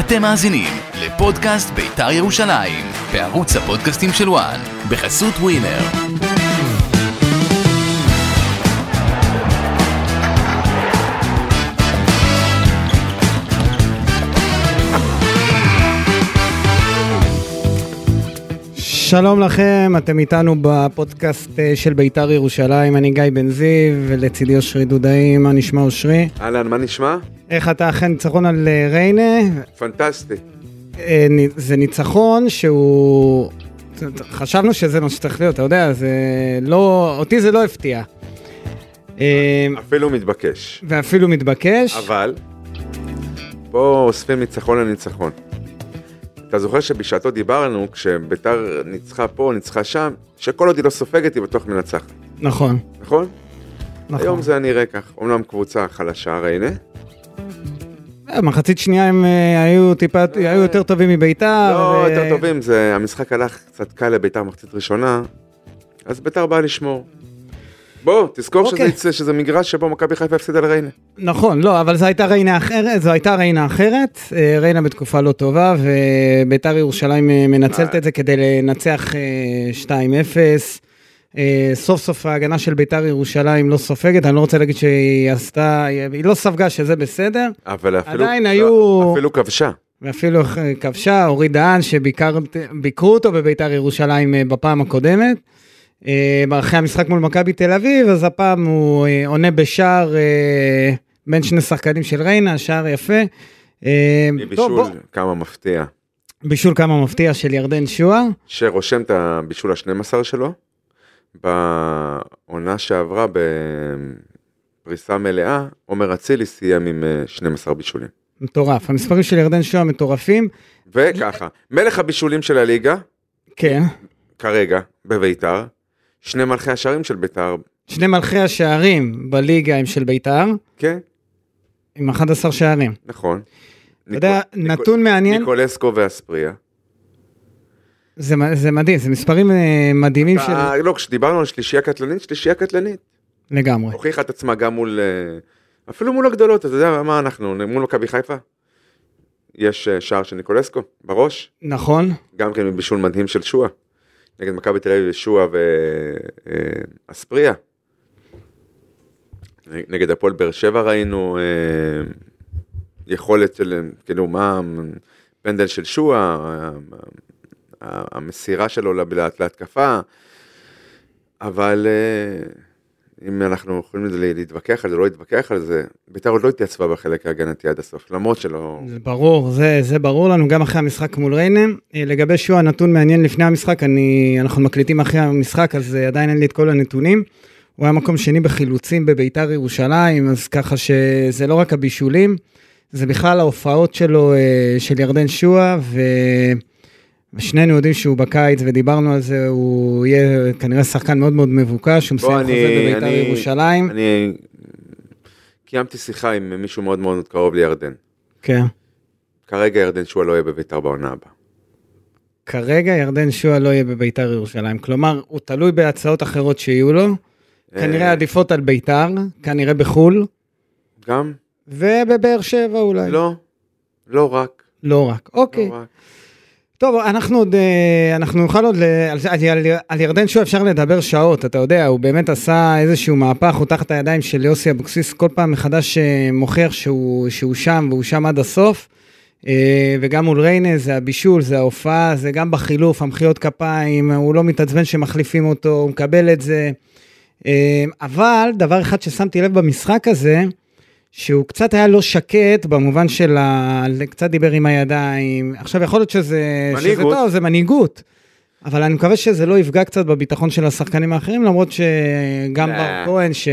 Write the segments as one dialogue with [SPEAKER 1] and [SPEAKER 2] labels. [SPEAKER 1] אתם מאזינים לפודקאסט בית"ר ירושלים, בערוץ הפודקאסטים של וואן, בחסות ווינר.
[SPEAKER 2] שלום לכם, אתם איתנו בפודקאסט אה, של בית"ר ירושלים, אני גיא בן זיו, ולצידי אושרי דודאי, מה נשמע אושרי?
[SPEAKER 3] אהלן, מה נשמע?
[SPEAKER 2] איך אתה אחרי ניצחון על אה, ריינה?
[SPEAKER 3] פנטסטי.
[SPEAKER 2] אה, נ- זה ניצחון שהוא... חשבנו שזה מה שצריך להיות, אתה יודע, זה לא... אותי זה לא הפתיע. אה,
[SPEAKER 3] אפילו מתבקש.
[SPEAKER 2] ואפילו מתבקש.
[SPEAKER 3] אבל, פה אוספים ניצחון על ניצחון. אתה זוכר שבשעתו דיברנו, כשביתר ניצחה פה, ניצחה שם, שכל עוד היא לא סופגת, היא בטוח מנצחת,
[SPEAKER 2] נכון,
[SPEAKER 3] נכון?
[SPEAKER 2] נכון.
[SPEAKER 3] היום זה נראה כך. אומנם קבוצה חלשה, ריינה,
[SPEAKER 2] אה, מחצית שנייה הם אה, היו טיפה... היו יותר טובים מבית"ר. אה,
[SPEAKER 3] לא
[SPEAKER 2] ו-
[SPEAKER 3] יותר טובים, זה, המשחק הלך קצת קל לביתר מחצית ראשונה, אז ביתר באה לשמור. בוא, תזכור שזה,
[SPEAKER 2] אוקיי.
[SPEAKER 3] יצא- שזה מגרש שבו מכבי חיפה הפסידה לריינה.
[SPEAKER 2] נכון, לא, אבל זו הייתה ריינה אחרת, זו הייתה ריינה אחרת, אה, ריינה בתקופה לא טובה, וביתר ירושלים אה, מנצלת את זה כדי לנצח אה, 2-0. אה, סוף סוף ההגנה של ביתר ירושלים לא סופגת, אני לא רוצה להגיד שהיא עשתה, היא לא ספגה שזה בסדר,
[SPEAKER 3] אבל אפילו,
[SPEAKER 2] עדיין היו-
[SPEAKER 3] אפילו כבשה.
[SPEAKER 2] ואפילו אה, כבשה אורי דהן שביקרו אותו בביתר ירושלים אה, בפעם הקודמת. אה, אחרי המשחק מול מכבי תל אביב, אז הפעם הוא אה, עונה בשער אה, בין שני שחקנים של ריינה, שער יפה. אה, טוב,
[SPEAKER 3] בישול,
[SPEAKER 2] בוא-
[SPEAKER 3] כמה מפתיע.
[SPEAKER 2] בישול כמה מפתיע של ירדן שועה.
[SPEAKER 3] שרושם את הבישול ה-12 שלו, בעונה שעברה בפריסה מלאה, עומר אצילי סיים עם אה, 12 בישולים.
[SPEAKER 2] מטורף, המספרים של ירדן שועה מטורפים.
[SPEAKER 3] וככה, מלך הבישולים של הליגה,
[SPEAKER 2] כן,
[SPEAKER 3] כרגע, בביתר, שני מלכי השערים של ביתר,
[SPEAKER 2] שני מלכי השערים בליגה הם של ביתר,
[SPEAKER 3] כן,
[SPEAKER 2] עם 11 שערים.
[SPEAKER 3] נכון.
[SPEAKER 2] אתה יודע, נתון מעניין,
[SPEAKER 3] ניקולסקו ואספריה.
[SPEAKER 2] זה מ- זה מדהים, זה מספרים אה, מדהימים של...
[SPEAKER 3] אה, לא, כשדיברנו על שלישייה קטלנית, שלישייה קטלנית.
[SPEAKER 2] לגמרי.
[SPEAKER 3] הוכיחה את עצמה גם מול, אה, אפילו מול הגדולות, אתה יודע מה אנחנו, מול מכבי חיפה? יש אה, שער של ניקולסקו בראש,
[SPEAKER 2] נכון,
[SPEAKER 3] גם כן בישול מדהים של שועה. נגד מכבי תל אביב אה, שועה ואספריה. נגד הפועל באר שבע ראינו אה, יכולת של, אה, כאילו מה, פנדל של שועה, אה, אה, המסירה שלו לה- להתקפה, אבל אה, אם אנחנו יכולים לה- להתווכח על זה, לא להתווכח על זה, בית"ר עוד לא התייצבה בחלק ההגנתי עד הסוף, למרות שלא...
[SPEAKER 2] זה ברור, זה, זה ברור לנו גם אחרי המשחק מול ריינה. אה, לגבי שועה, נתון מעניין לפני המשחק, אני, אנחנו מקליטים אחרי המשחק, אז אה, עדיין אין לי את כל הנתונים. הוא היה מקום שני בחילוצים בביתר ירושלים, אז ככה שזה לא רק הבישולים, זה בכלל ההופעות שלו, אה, של ירדן שועה, ו... ושנינו יודעים שהוא בקיץ, ודיברנו על זה, הוא יהיה כנראה שחקן מאוד מאוד מבוקש, הוא מסיים
[SPEAKER 3] בוא,
[SPEAKER 2] חוזה
[SPEAKER 3] אני-
[SPEAKER 2] בביתר
[SPEAKER 3] אני-
[SPEAKER 2] ירושלים.
[SPEAKER 3] אני קיימתי שיחה עם מישהו מאוד מאוד קרוב לירדן.
[SPEAKER 2] כן.
[SPEAKER 3] כרגע ירדן שועה לא יהיה בביתר בעונה הבאה.
[SPEAKER 2] כרגע ירדן שועה לא יהיה בביתר ירושלים. כלומר, הוא תלוי בהצעות אחרות שיהיו לו, כנראה
[SPEAKER 3] אה,
[SPEAKER 2] עדיפות על ביתר, כנראה בחו"ל,
[SPEAKER 3] גם?
[SPEAKER 2] ובבאר שבע אולי.
[SPEAKER 3] לא, לא רק.
[SPEAKER 2] לא רק. אוקיי.
[SPEAKER 3] לא רק.
[SPEAKER 2] טוב, אנחנו עוד, אה, אנחנו נוכל עוד, ל- על, על, על, על ירדן שועה אפשר לדבר שעות, אתה יודע, הוא באמת עשה איזשהו מהפך, הוא תחת הידיים של יוסי אבוקסיס, כל פעם מחדש אה, מוכיח שהוא, שהוא שם, והוא שם עד הסוף. אה, וגם מול ריינה זה הבישול, זה ההופעה, זה גם בחילוף, המחיאות כפיים, הוא לא מתעצבן שמחליפים אותו, הוא מקבל את זה. אה, אבל דבר אחד ששמתי לב במשחק הזה, שהוא קצת היה לא שקט במובן של ה... קצת דיבר עם הידיים. עכשיו יכול להיות שזה, שזה
[SPEAKER 3] מנהיגות.
[SPEAKER 2] טוב, זה מנהיגות. אבל אני מקווה שזה לא יפגע קצת בביטחון של השחקנים האחרים, למרות שגם
[SPEAKER 3] לא.
[SPEAKER 2] בר כהן, ש...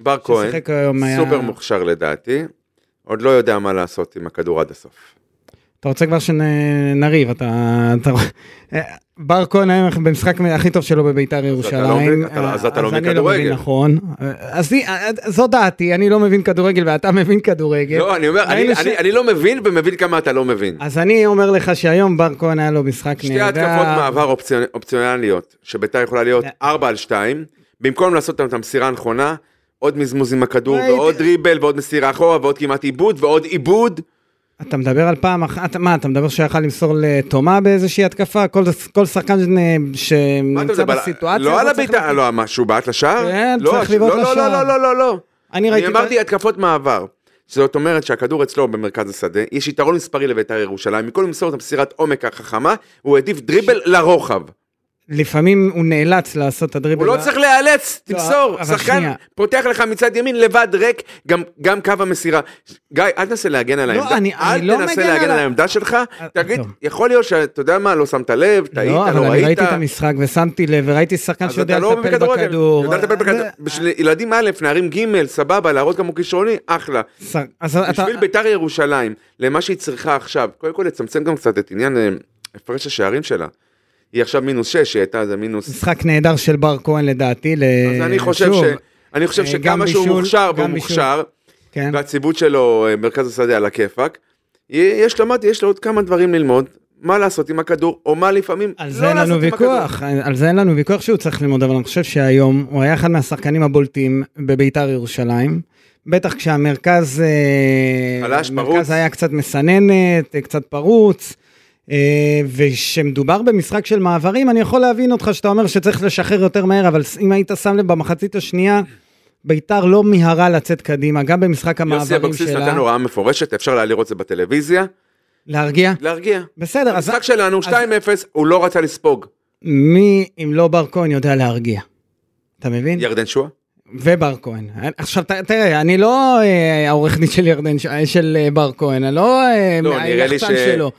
[SPEAKER 3] בר כהן,
[SPEAKER 2] ששיחק היום היה-
[SPEAKER 3] סופר מוכשר לדעתי, עוד לא יודע מה לעשות עם הכדור עד הסוף.
[SPEAKER 2] אתה רוצה כבר שנריב, אתה... אתה... בר כהן היה במשחק הכי טוב שלו בביתר
[SPEAKER 3] לא
[SPEAKER 2] ירושלים.
[SPEAKER 3] מבין- אתה לא- אז אתה לא מבין
[SPEAKER 2] אני לא מבין,
[SPEAKER 3] כדורגל.
[SPEAKER 2] נכון. אז היא- זו דעתי, אני לא מבין כדורגל ואתה מבין כדורגל.
[SPEAKER 3] לא, אני אומר,
[SPEAKER 2] ראינו
[SPEAKER 3] אני-
[SPEAKER 2] ש-
[SPEAKER 3] אני- אני לא מבין ומבין כמה אתה לא מבין.
[SPEAKER 2] אז אני אומר לך שהיום בר כהן היה לו משחק נהדר.
[SPEAKER 3] שתי התקפות מעבר אופציונ- אופציונליות, שביתר יכולה להיות
[SPEAKER 2] לא.
[SPEAKER 3] 4 על 2, במקום לעשות את המסירה הנכונה, עוד מזמוז עם הכדור,
[SPEAKER 2] ראיתי.
[SPEAKER 3] ועוד דריבל, ועוד מסירה אחורה, ועוד כמעט עיבוד, ועוד עיבוד.
[SPEAKER 2] אתה מדבר על פעם אחת, מה, אתה מדבר שהיה יכול למסור לתומה באיזושהי התקפה? כל, כל שחקן
[SPEAKER 3] מה אתה
[SPEAKER 2] שנמצא
[SPEAKER 3] מדבר?
[SPEAKER 2] בסיטואציה...
[SPEAKER 3] לא
[SPEAKER 2] הזאת
[SPEAKER 3] על
[SPEAKER 2] צריך
[SPEAKER 3] הבעיטה,
[SPEAKER 2] להגיד.
[SPEAKER 3] לא, מה, שהוא בעט לשער?
[SPEAKER 2] כן,
[SPEAKER 3] לא,
[SPEAKER 2] צריך
[SPEAKER 3] ש-
[SPEAKER 2] לבעוט
[SPEAKER 3] לא,
[SPEAKER 2] לשער.
[SPEAKER 3] לא, לא, לא, לא, לא.
[SPEAKER 2] אני
[SPEAKER 3] אני
[SPEAKER 2] ראיתי...
[SPEAKER 3] אמרתי התקפות מעבר. זאת אומרת שהכדור אצלו במרכז השדה, יש יתרון מספרי לבית"ר ירושלים, במקום למסור את המסירת עומק החכמה, הוא העדיף דריבל לרוחב.
[SPEAKER 2] לפעמים הוא נאלץ לעשות את הדריבל.
[SPEAKER 3] הוא לא
[SPEAKER 2] ה-
[SPEAKER 3] צריך להיאלץ,
[SPEAKER 2] לא,
[SPEAKER 3] תמסור,
[SPEAKER 2] אבל
[SPEAKER 3] שחקן
[SPEAKER 2] שנייה.
[SPEAKER 3] פותח לך מצד ימין לבד ריק, גם- גם קו המסירה. גיא, אל תנסה להגן על
[SPEAKER 2] לא,
[SPEAKER 3] העמדה,
[SPEAKER 2] אני-
[SPEAKER 3] אל
[SPEAKER 2] אני לא
[SPEAKER 3] תנסה
[SPEAKER 2] מגן
[SPEAKER 3] להגן
[SPEAKER 2] על
[SPEAKER 3] על
[SPEAKER 2] ה-
[SPEAKER 3] העמדה שלך,
[SPEAKER 2] אה,
[SPEAKER 3] תגיד,
[SPEAKER 2] טוב.
[SPEAKER 3] יכול להיות שאתה יודע מה, לא שמת לב, טעית,
[SPEAKER 2] לא, אבל
[SPEAKER 3] לא
[SPEAKER 2] אני
[SPEAKER 3] ראית.
[SPEAKER 2] ראיתי את המשחק ושמתי לב וראיתי שחקן
[SPEAKER 3] אז
[SPEAKER 2] שיודע
[SPEAKER 3] אתה לא
[SPEAKER 2] לטפל בכדור. אה,
[SPEAKER 3] יודע לטפל בכדור. בשביל ילדים א', נערים ג', סבבה, להראות כמה הוא כישרוני, אחלה.
[SPEAKER 2] ש- אז אתה...
[SPEAKER 3] בשביל ביתר ירושלים, למה שהיא צריכה עכשיו, קודם כל לצמצם גם קצת את עניין אה, הפרש השערים שלה. היא עכשיו מינוס 6, היא הייתה איזה מינוס...
[SPEAKER 2] משחק נהדר של בר כהן לדעתי.
[SPEAKER 3] אז אני חושב ש... אני חושב
[SPEAKER 2] אה,
[SPEAKER 3] שכמה
[SPEAKER 2] גם
[SPEAKER 3] שהוא
[SPEAKER 2] בישול,
[SPEAKER 3] מוכשר
[SPEAKER 2] גם
[SPEAKER 3] והוא
[SPEAKER 2] בישול.
[SPEAKER 3] מוכשר,
[SPEAKER 2] כן.
[SPEAKER 3] והציבות שלו, אה, מרכז השדה על הכיפאק, יש לו, אמרתי, יש לו עוד כמה דברים ללמוד, מה לעשות עם הכדור, או מה לפעמים
[SPEAKER 2] על
[SPEAKER 3] לא
[SPEAKER 2] זה אין לנו
[SPEAKER 3] לעשות עם הכדור.
[SPEAKER 2] ויכוח, על זה אין לנו ויכוח שהוא צריך ללמוד, אבל אני חושב שהיום הוא היה אחד מהשחקנים הבולטים בביתר ירושלים. בטח כשהמרכז אה,
[SPEAKER 3] חלש,
[SPEAKER 2] המרכז
[SPEAKER 3] פרוץ.
[SPEAKER 2] היה קצת מסננת, אה, קצת פרוץ, אה, וכשמדובר במשחק של מעברים, אני יכול להבין אותך שאתה אומר שצריך לשחרר יותר מהר, אבל אם היית שם לב במחצית השנייה, ביתר לא מיהרה לצאת קדימה, גם במשחק
[SPEAKER 3] יוסי
[SPEAKER 2] המעברים
[SPEAKER 3] אבקסיס
[SPEAKER 2] שלה,
[SPEAKER 3] נתן הוראה מפורשת, אפשר היה לראות את זה בטלוויזיה,
[SPEAKER 2] להרגיע.
[SPEAKER 3] להרגיע.
[SPEAKER 2] בסדר, אז
[SPEAKER 3] המשחק שלנו 2-0, הוא לא רצה לספוג.
[SPEAKER 2] מי אם לא בר כהן יודע להרגיע? אתה מבין?
[SPEAKER 3] ירדן שואה?
[SPEAKER 2] ובר כהן. עכשיו ת- תראה, אני לא אה, העורך דין של ירדן, ש- אה, של אה, בר כהן, אני לא אה,
[SPEAKER 3] לא, נראה לי
[SPEAKER 2] היחצן
[SPEAKER 3] ש-
[SPEAKER 2] שלו.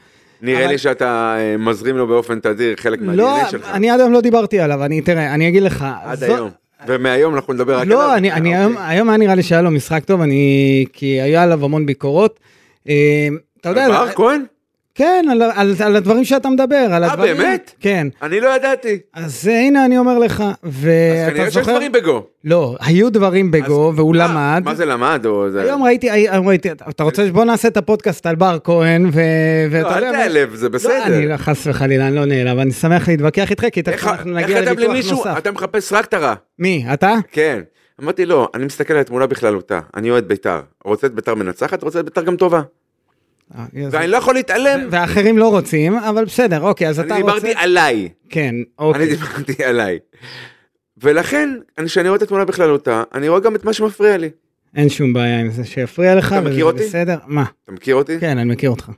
[SPEAKER 3] נראה
[SPEAKER 2] אבל-
[SPEAKER 3] לי שאתה אה, מזרים לו באופן תדיר חלק
[SPEAKER 2] לא,
[SPEAKER 3] מהדנ"א שלך.
[SPEAKER 2] אני עד היום לא דיברתי עליו, אני תראה, אני אגיד לך.
[SPEAKER 3] עד
[SPEAKER 2] זו-
[SPEAKER 3] היום. ומהיום אנחנו נדבר רק
[SPEAKER 2] לא, אני, אני
[SPEAKER 3] אה,
[SPEAKER 2] היום,
[SPEAKER 3] אוקיי.
[SPEAKER 2] היום היה נראה לי שהיה לו משחק טוב, אני, כי היה עליו המון ביקורות. אה, אתה יודע,
[SPEAKER 3] בר כהן?
[SPEAKER 2] כן, על, על, על הדברים שאתה מדבר, על
[SPEAKER 3] אה,
[SPEAKER 2] הדברים.
[SPEAKER 3] באמת?
[SPEAKER 2] כן.
[SPEAKER 3] אני לא ידעתי.
[SPEAKER 2] אז אה, הנה אני אומר לך,
[SPEAKER 3] אז
[SPEAKER 2] ואתה
[SPEAKER 3] כנראה שיש
[SPEAKER 2] אה, זוכר?
[SPEAKER 3] דברים בגו.
[SPEAKER 2] לא, היו דברים בגו, והוא
[SPEAKER 3] מה-
[SPEAKER 2] למד.
[SPEAKER 3] מה זה למד? או זה-
[SPEAKER 2] היום ראיתי, היום ראיתי, אתה רוצה, בוא נעשה את הפודקאסט על בר כהן, ו-
[SPEAKER 3] לא,
[SPEAKER 2] ואתה
[SPEAKER 3] אל
[SPEAKER 2] יודע... מה-
[SPEAKER 3] תיעלב,
[SPEAKER 2] לא,
[SPEAKER 3] זה
[SPEAKER 2] אני
[SPEAKER 3] בסדר.
[SPEAKER 2] לא, חס וחלילה, אני לא נעלב, אני שמח להתווכח איתך, כי
[SPEAKER 3] איך
[SPEAKER 2] תכף אנחנו
[SPEAKER 3] איך
[SPEAKER 2] נגיע
[SPEAKER 3] אתה
[SPEAKER 2] לוויכוח
[SPEAKER 3] למישהו,
[SPEAKER 2] נוסף.
[SPEAKER 3] אתה מחפש רק את הרע.
[SPEAKER 2] מי, אתה?
[SPEAKER 3] כן. אמרתי לא, אני מסתכל על התמונה בכללותה, אני אוהד בית"ר. רוצה את בית"ר מנצחת, רוצה את בית"ר גם טובה.
[SPEAKER 2] אה, אז-
[SPEAKER 3] ואני לא יכול להתעלם,
[SPEAKER 2] והאחרים לא רוצים, אבל בסדר, אוקיי, אז אתה
[SPEAKER 3] אני
[SPEAKER 2] רוצה...
[SPEAKER 3] דיברתי עליי.
[SPEAKER 2] כן,
[SPEAKER 3] אני
[SPEAKER 2] אוקיי.
[SPEAKER 3] דיברתי עליי. ולכן, אני- כשאני רואה את התמונה בכללותה, אני רואה גם את מה שמפריע לי.
[SPEAKER 2] אין שום בעיה עם זה שיפריע לך,
[SPEAKER 3] אתה מכיר
[SPEAKER 2] וזה
[SPEAKER 3] אותי?
[SPEAKER 2] בסדר. מה?
[SPEAKER 3] אתה מכיר אותי? אה,
[SPEAKER 2] כן, אני מכיר אותך.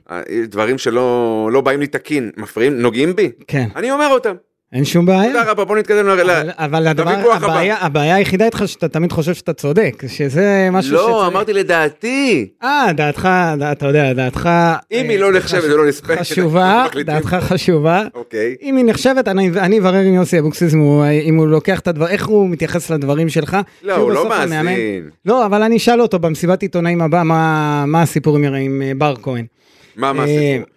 [SPEAKER 3] דברים שלא לא באים לי תקין, מפריעים, נוגעים בי,
[SPEAKER 2] כן, אני...
[SPEAKER 3] אני אומר אותם.
[SPEAKER 2] אין שום בעיה.
[SPEAKER 3] תודה רבה, בוא נתקדם ל...
[SPEAKER 2] אבל,
[SPEAKER 3] ל-
[SPEAKER 2] אבל הדבר,
[SPEAKER 3] לוויכוח הבא.
[SPEAKER 2] הבעיה, הבעיה היחידה איתך שאתה תמיד חושב שאתה צודק, שזה משהו
[SPEAKER 3] לא,
[SPEAKER 2] שצריך...
[SPEAKER 3] אמרתי לדעתי.
[SPEAKER 2] אה, דעתך, דע- אתה יודע, דעתך...
[SPEAKER 3] אם
[SPEAKER 2] אה,
[SPEAKER 3] היא לא נחשבת
[SPEAKER 2] חש-
[SPEAKER 3] ולא נספקת,
[SPEAKER 2] חשובה,
[SPEAKER 3] אנחנו מחליטים.
[SPEAKER 2] דעתך חשובה.
[SPEAKER 3] אוקיי.
[SPEAKER 2] אם היא נחשבת, אני אני אברר עם יוסי אבוקסיס אם הוא- אם הוא לוקח את הדבר, איך הוא מתייחס לדברים שלך.
[SPEAKER 3] לא,
[SPEAKER 2] שהוא
[SPEAKER 3] הוא לא
[SPEAKER 2] בסוף המאמן.
[SPEAKER 3] מאזין.
[SPEAKER 2] לא, אבל אני אשאל אותו במסיבת עיתונאים הבאה, מה מה הסיפור עם- עם אה, בר כהן.
[SPEAKER 3] מה, מה
[SPEAKER 2] אה,
[SPEAKER 3] הסיפור?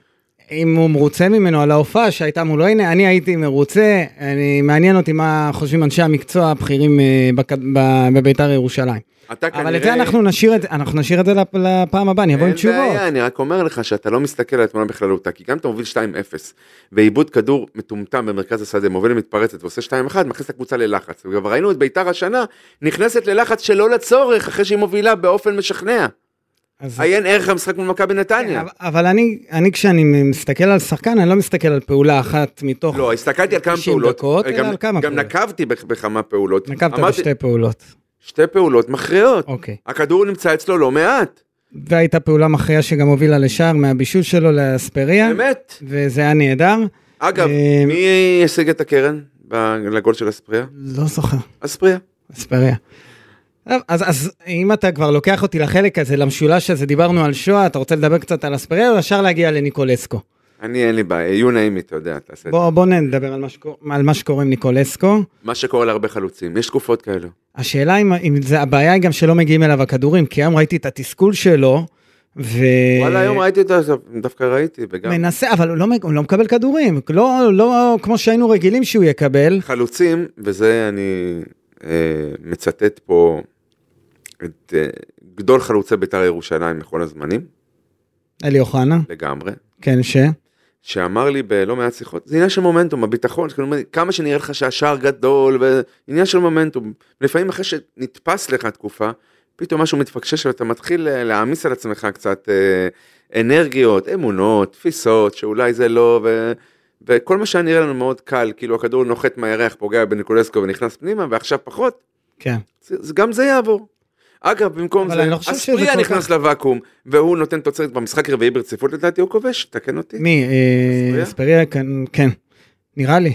[SPEAKER 2] אם הוא מרוצה ממנו על ההופעה שהייתה מולו, הנה, אני הייתי מרוצה, אני, מעניין אותי מה חושבים אנשי המקצוע הבכירים אה, בכ- ב- בביתר ירושלים.
[SPEAKER 3] אתה כנראה...
[SPEAKER 2] אבל את זה אנחנו נשאיר את, אנחנו נשאיר את זה לפ- לפעם הבאה, אני אבוא עם תשובות.
[SPEAKER 3] אין בעיה, אני רק אומר לך שאתה לא מסתכל על התמונה בכללותה, כי גם אתה מוביל 2-0, ועיבוד כדור מטומטם במרכז השדה, מוביל למתפרצת ועושה 2-1, מכניס את הקבוצה ללחץ. וגם ראינו את ביתר השנה, נכנסת ללחץ שלא לצורך, אחרי שהיא מובילה באופן משכנע.
[SPEAKER 2] אז-
[SPEAKER 3] עיין ערך המשחק מול מכבי נתניה.
[SPEAKER 2] אבל- אבל אני, אני כשאני מסתכל על שחקן, אני לא מסתכל על פעולה אחת מתוך...
[SPEAKER 3] לא, הסתכלתי על כמה
[SPEAKER 2] 90
[SPEAKER 3] פעולות, אה,
[SPEAKER 2] דקות, אלא
[SPEAKER 3] גם-
[SPEAKER 2] על כמה
[SPEAKER 3] גם
[SPEAKER 2] פעולות.
[SPEAKER 3] נקבתי בכ- בכמה פעולות.
[SPEAKER 2] נקבת
[SPEAKER 3] אמרתי,
[SPEAKER 2] בשתי פעולות.
[SPEAKER 3] שתי פעולות מכריעות.
[SPEAKER 2] אוקיי.
[SPEAKER 3] הכדור נמצא אצלו לא מעט,
[SPEAKER 2] והייתה פעולה מכריעה שגם הובילה לשער מהבישול שלו לאספריה,
[SPEAKER 3] באמת.
[SPEAKER 2] וזה היה נהדר.
[SPEAKER 3] אגב,
[SPEAKER 2] אמ,
[SPEAKER 3] מי השיג את הקרן ב- לגול של אספריה?
[SPEAKER 2] לא זוכר.
[SPEAKER 3] אספריה.
[SPEAKER 2] אספריה. טוב, אז, אז אם אתה כבר לוקח אותי לחלק הזה, למשולש הזה, דיברנו על שואה, אתה רוצה לדבר קצת על אספריה, או ישר להגיע לניקולסקו?
[SPEAKER 3] אני אין לי בעיה, יהיו נעים אתה יודע, תעשה את זה.
[SPEAKER 2] בוא, בוא נדבר על מה, שקור... על מה שקורה עם ניקולסקו.
[SPEAKER 3] מה שקורה להרבה חלוצים, יש תקופות כאלו.
[SPEAKER 2] השאלה אם, אם זה, הבעיה היא גם שלא מגיעים אליו הכדורים, כי היום ראיתי את התסכול שלו, ו...
[SPEAKER 3] וואלה, היום ראיתי אותו, אז דווקא ראיתי, וגם
[SPEAKER 2] מנסה, אבל הוא לא, מג- הוא לא מקבל כדורים, לא, לא כמו שהיינו רגילים שהוא יקבל.
[SPEAKER 3] חלוצים, וזה אני אה, מצטט פה את אה, גדול חלוצי בית"ר ירושלים בכל הזמנים,
[SPEAKER 2] אלי אוחנה,
[SPEAKER 3] לגמרי.
[SPEAKER 2] כן, ש...
[SPEAKER 3] שאמר לי בלא מעט שיחות, זה עניין של מומנטום, הביטחון, כלומר, כמה שנראה לך שהשער גדול, ו- עניין של מומנטום. לפעמים אחרי שנתפס לך תקופה, פתאום משהו מתפקשש ואתה מתחיל אה, להעמיס על עצמך קצת אה, אנרגיות, אמונות, תפיסות, שאולי זה לא, ו... וכל מה שהיה נראה לנו מאוד קל, כאילו הכדור נוחת מהירח, פוגע בניקולסקו ונכנס פנימה, ועכשיו פחות,
[SPEAKER 2] כן.
[SPEAKER 3] זה, זה, גם זה יעבור. אגב, במקום
[SPEAKER 2] אבל
[SPEAKER 3] זה,
[SPEAKER 2] אני לא חושב שזה
[SPEAKER 3] אספריה
[SPEAKER 2] כל
[SPEAKER 3] נכנס
[SPEAKER 2] כך-
[SPEAKER 3] לוואקום, והוא נותן תוצרת במשחק רביעי ברציפות, לדעתי הוא כובש, תקן אותי.
[SPEAKER 2] מי? אה,
[SPEAKER 3] אספריה?
[SPEAKER 2] אספריה? כן- כן. נראה לי.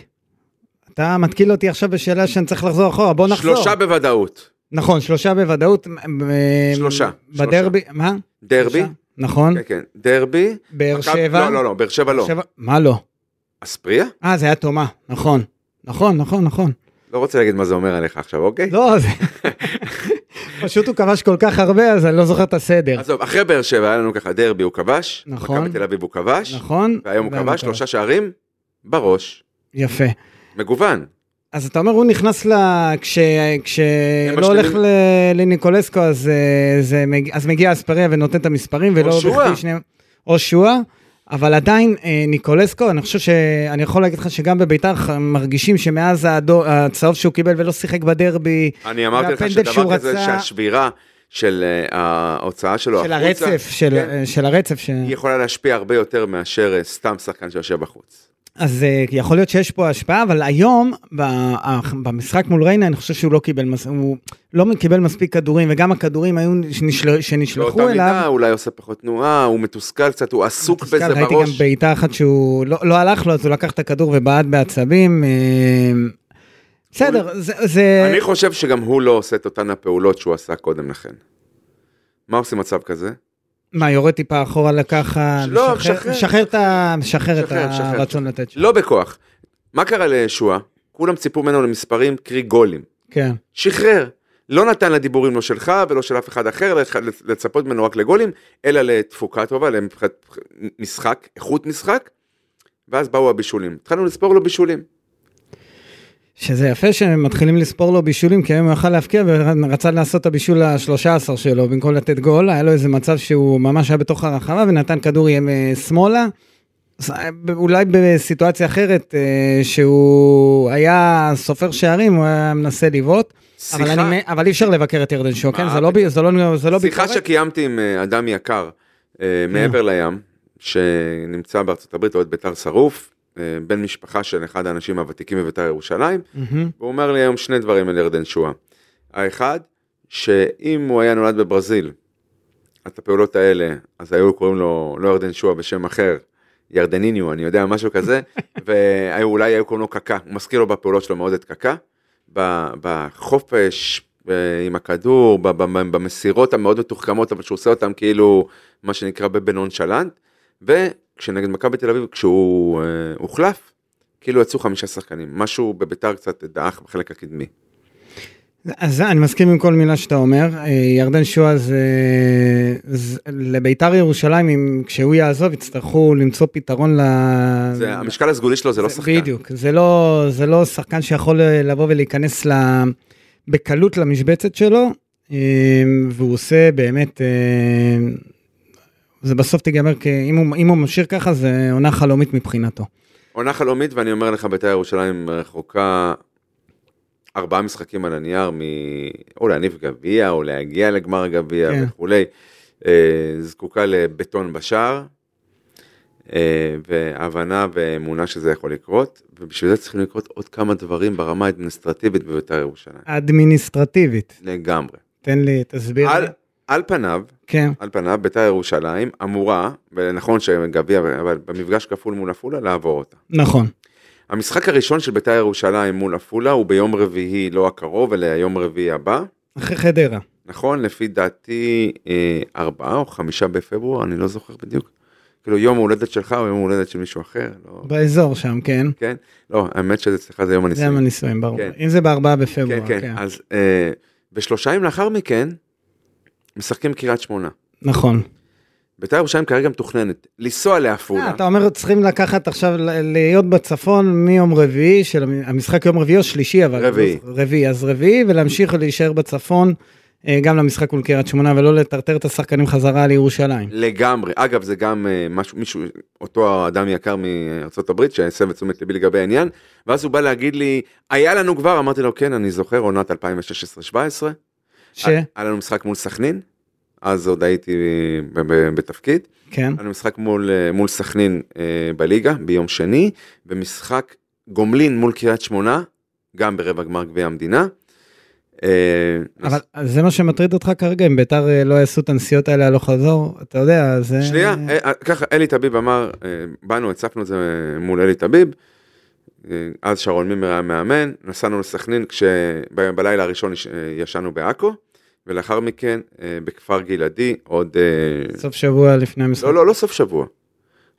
[SPEAKER 2] אתה מתקיל אותי עכשיו בשאלה שאני צריך לחזור אחורה, בוא נחזור.
[SPEAKER 3] שלושה בוודאות,
[SPEAKER 2] נכון, שלושה בוודאות. מ- אה,
[SPEAKER 3] שלושה,
[SPEAKER 2] בדרבי, מה?
[SPEAKER 3] דרבי,
[SPEAKER 2] שלושה? נכון.
[SPEAKER 3] כן כן, דרבי,
[SPEAKER 2] באר
[SPEAKER 3] מכבי-
[SPEAKER 2] שבע.
[SPEAKER 3] לא לא לא, באר שבע לא,
[SPEAKER 2] שבע- מה לא?
[SPEAKER 3] אספריה?
[SPEAKER 2] אה, זה היה תומה, נכון. נכון, נכון, נכון.
[SPEAKER 3] לא רוצה להגיד מה זה אומר עליך עכשיו, אוקיי?
[SPEAKER 2] לא, זה... פשוט הוא כבש כל כך הרבה, אז אני לא זוכר את הסדר.
[SPEAKER 3] עזוב, אחרי באר שבע היה לנו ככה דרבי הוא כבש,
[SPEAKER 2] נכון.
[SPEAKER 3] מכבי תל אביב הוא כבש,
[SPEAKER 2] נכון?
[SPEAKER 3] והיום הוא כבש שלושה שערים בראש,
[SPEAKER 2] יפה.
[SPEAKER 3] מגוון.
[SPEAKER 2] אז אתה אומר, הוא נכנס ל... כש... כשלא הולך
[SPEAKER 3] משלימים.
[SPEAKER 2] ל- לניקולסקו, אז, אה, זה מג... אז מגיע אספריה ונותן את המספרים, ולא...
[SPEAKER 3] שועה.
[SPEAKER 2] בכדי שניהם- או שועה. אבל עדיין אה, ניקולסקו, אני חושב שאני יכול להגיד לך שגם בביתר ח- מרגישים שמאז האדו- הצהוב שהוא קיבל ולא שיחק בדרבי,
[SPEAKER 3] אני אמרתי לך
[SPEAKER 2] והפנדל שהוא
[SPEAKER 3] שדבר כזה
[SPEAKER 2] רצה-
[SPEAKER 3] שהשבירה של אה, ההוצאה שלו
[SPEAKER 2] של
[SPEAKER 3] לא, החוצה,
[SPEAKER 2] הרצף, של,
[SPEAKER 3] כן,
[SPEAKER 2] אה, של הרצף, ש...
[SPEAKER 3] היא יכולה להשפיע הרבה יותר מאשר אה, סתם שחקן שיושב בחוץ.
[SPEAKER 2] אז אה, יכול להיות שיש פה השפעה, אבל היום, ב- ה- במשחק מול ריינה, אני חושב שהוא לא קיבל, מס- הוא לא קיבל מספיק כדורים, וגם הכדורים היו שנשל... שנשלחו
[SPEAKER 3] באותה מידה
[SPEAKER 2] אליו.
[SPEAKER 3] הוא אולי עושה פחות תנועה, הוא מתוסכל קצת, הוא עסוק
[SPEAKER 2] מתוסכל,
[SPEAKER 3] בזה
[SPEAKER 2] ראיתי גם
[SPEAKER 3] בראש.
[SPEAKER 2] בעיטה אחת שהוא לא, לא הלך לו, אז הוא לקח את הכדור ובעט בעצבים. אה, בסדר, זה... זה...
[SPEAKER 3] אני חושב שגם הוא לא עושה את אותן הפעולות שהוא עשה קודם לכן. מה עושים מצב כזה?
[SPEAKER 2] מה, יורד טיפה אחורה לככה,
[SPEAKER 3] לא,
[SPEAKER 2] משחרר-
[SPEAKER 3] משחרר.
[SPEAKER 2] משחרר את ה- משחרר את
[SPEAKER 3] משחרר, משחרר.
[SPEAKER 2] הרצון לתת שם.
[SPEAKER 3] לא בכוח. מה קרה לישוע? כולם ציפו ממנו למספרים, קרי גולים.
[SPEAKER 2] כן,
[SPEAKER 3] שחרר. לא נתן לדיבורים לא שלך ולא של אף אחד אחר לח- לצפות ממנו רק לגולים, אלא לתפוקה טובה, למבחינת משחק, איכות משחק, ואז באו הבישולים. התחלנו לספור לו בישולים.
[SPEAKER 2] שזה יפה שהם מתחילים לספור לו בישולים, כי היום הוא יכל להפקיע ורצה לעשות את הבישול ה-13 שלו במקום לתת גול, היה לו איזה מצב שהוא ממש היה בתוך הרחבה ונתן כדור ים אה, שמאלה. אז, אה, ב- אולי בסיטואציה אחרת, אה, שהוא היה סופר שערים, הוא היה מנסה לבעוט, אבל,
[SPEAKER 3] שיחה-
[SPEAKER 2] אני מ- אבל אי אפשר לבקר את ירדן שואה, כן?
[SPEAKER 3] מה?
[SPEAKER 2] זה לא, ב- זה לא, זה לא
[SPEAKER 3] שיחה
[SPEAKER 2] ביקורת. כן.
[SPEAKER 3] שקיימתי עם אה, אדם יקר אה, מעבר לים, שנמצא בארצות הברית, אוהד בית"ר שרוף, אה, בן משפחה של אחד האנשים הוותיקים בבית"ר ירושלים,
[SPEAKER 2] מהמם.
[SPEAKER 3] והוא אומר לי היום שני דברים על ירדן שואה. האחד, שאם הוא היה נולד בברזיל, את הפעולות האלה, אז היו קוראים לו לא ירדן שואה בשם אחר, ירדניניו, אני יודע, משהו כזה, ואולי היו קוראים לו קקה, הוא מזכיר לו בפעולות שלו מאוד את קקה, ב- בחופש, ב- עם הכדור, ב- ב- במסירות המאוד מתוחכמות, אבל שהוא עושה אותן כאילו, מה שנקרא בבנונשלנט, וכשנגד מכבי תל אביב, כשהוא אה, הוחלף, כאילו יצאו חמישה שחקנים, משהו בביתר קצת דעך בחלק הקדמי.
[SPEAKER 2] אז אני מסכים עם כל מילה שאתה אומר, אה, ירדן שועה זה, זה לביתר ירושלים, אם, כשהוא יעזוב יצטרכו למצוא פתרון ל...
[SPEAKER 3] זה, המשקל הסגולי שלו זה לא
[SPEAKER 2] זה-
[SPEAKER 3] שחקן.
[SPEAKER 2] בדיוק, זה לא, זה לא שחקן שיכול אה, לבוא ולהיכנס ל... בקלות למשבצת שלו, אה, והוא עושה באמת, אה, זה בסוף תיגמר, כ- אם הוא, אם הוא ממשיך ככה זה עונה חלומית מבחינתו.
[SPEAKER 3] עונה חלומית, ואני אומר לך, בית"ר ירושלים רחוקה ארבעה משחקים על הנייר, מ... או להניף גביע, או להגיע לגמר גביע
[SPEAKER 2] כן.
[SPEAKER 3] כן. וכולי. אה, זקוקה לבטון בשער, אה, והבנה ואמונה שזה יכול לקרות, ובשביל זה צריכים לקרות עוד כמה דברים ברמה האדמיניסטרטיבית בבית"ר ירושלים.
[SPEAKER 2] אדמיניסטרטיבית,
[SPEAKER 3] לגמרי.
[SPEAKER 2] תן לי, תסביר.
[SPEAKER 3] על,
[SPEAKER 2] לי.
[SPEAKER 3] על פניו,
[SPEAKER 2] כן,
[SPEAKER 3] על פניו, בית"ר ירושלים אמורה, ונכון שגביע, אבל במפגש כפול מול עפולה, לעבור אותה.
[SPEAKER 2] נכון,
[SPEAKER 3] המשחק הראשון של בית"ר ירושלים מול עפולה הוא ביום רביעי לא הקרוב, אלא יום רביעי הבא.
[SPEAKER 2] אחרי חדרה.
[SPEAKER 3] נכון, לפי דעתי, אה, ארבעה או חמישה בפברואר, אני לא זוכר בדיוק. כאילו יום ההולדת שלך או יום ההולדת של מישהו אחר, לא,
[SPEAKER 2] באזור שם, כן.
[SPEAKER 3] כן? לא, האמת שזה אצלך זה יום
[SPEAKER 2] זה יום
[SPEAKER 3] הנישואים.
[SPEAKER 2] הנישואים, ברור.
[SPEAKER 3] כן.
[SPEAKER 2] אם זה בארבעה
[SPEAKER 3] כן,
[SPEAKER 2] בפברואר,
[SPEAKER 3] כן,
[SPEAKER 2] כן.
[SPEAKER 3] אז אה, ושלושה ימים לאחר מכן, משחקים קריית שמונה.
[SPEAKER 2] נכון.
[SPEAKER 3] בית"ר ירושלים כרגע מתוכננת לנסוע
[SPEAKER 2] אה,
[SPEAKER 3] לעפולה.
[SPEAKER 2] אתה אומר צריכים לקחת עכשיו ל- להיות בצפון מיום רביעי של המ- המשחק יום רביעי או שלישי אבל
[SPEAKER 3] רביעי.
[SPEAKER 2] רביעי אז רביעי ולהמשיך להישאר בצפון אה, גם למשחק מול קריית שמונה ולא לטרטר את השחקנים חזרה לירושלים.
[SPEAKER 3] לגמרי. אגב, זה גם אה, משהו, מישהו, אותו אדם יקר מארצות הברית שהסב את תשומת ליבי לגבי העניין, ואז הוא בא להגיד לי, היה לנו כבר, אמרתי לו, כן, אני זוכר, עונת 2016-2017,
[SPEAKER 2] ש...
[SPEAKER 3] היה לנו משחק מול סכנין, אז עוד הייתי אה, ב- ב- בתפקיד.
[SPEAKER 2] כן.
[SPEAKER 3] היה לנו משחק מול, אה, מול סכנין אה, בליגה ביום שני, ומשחק גומלין מול קריית שמונה, גם ברבע גמר גביע המדינה. אה,
[SPEAKER 2] אבל זה מה שמטריד אותך כרגע, אם ביתר אה, לא יעשו את הנסיעות האלה הלוך חזור, אתה יודע, זה...
[SPEAKER 3] שנייה, אה, ככה אלי טביב אמר, אה, באנו, הצפנו את זה אה, מול אלי טביב, אה, אז שרון מימר היה מאמן, נסענו לסכנין כשבלילה הראשון יש- אה, ישנו בעכו, ולאחר מכן אה, בכפר גלעדי עוד... אה,
[SPEAKER 2] סוף שבוע לפני המשחק.
[SPEAKER 3] לא, לא, לא סוף שבוע.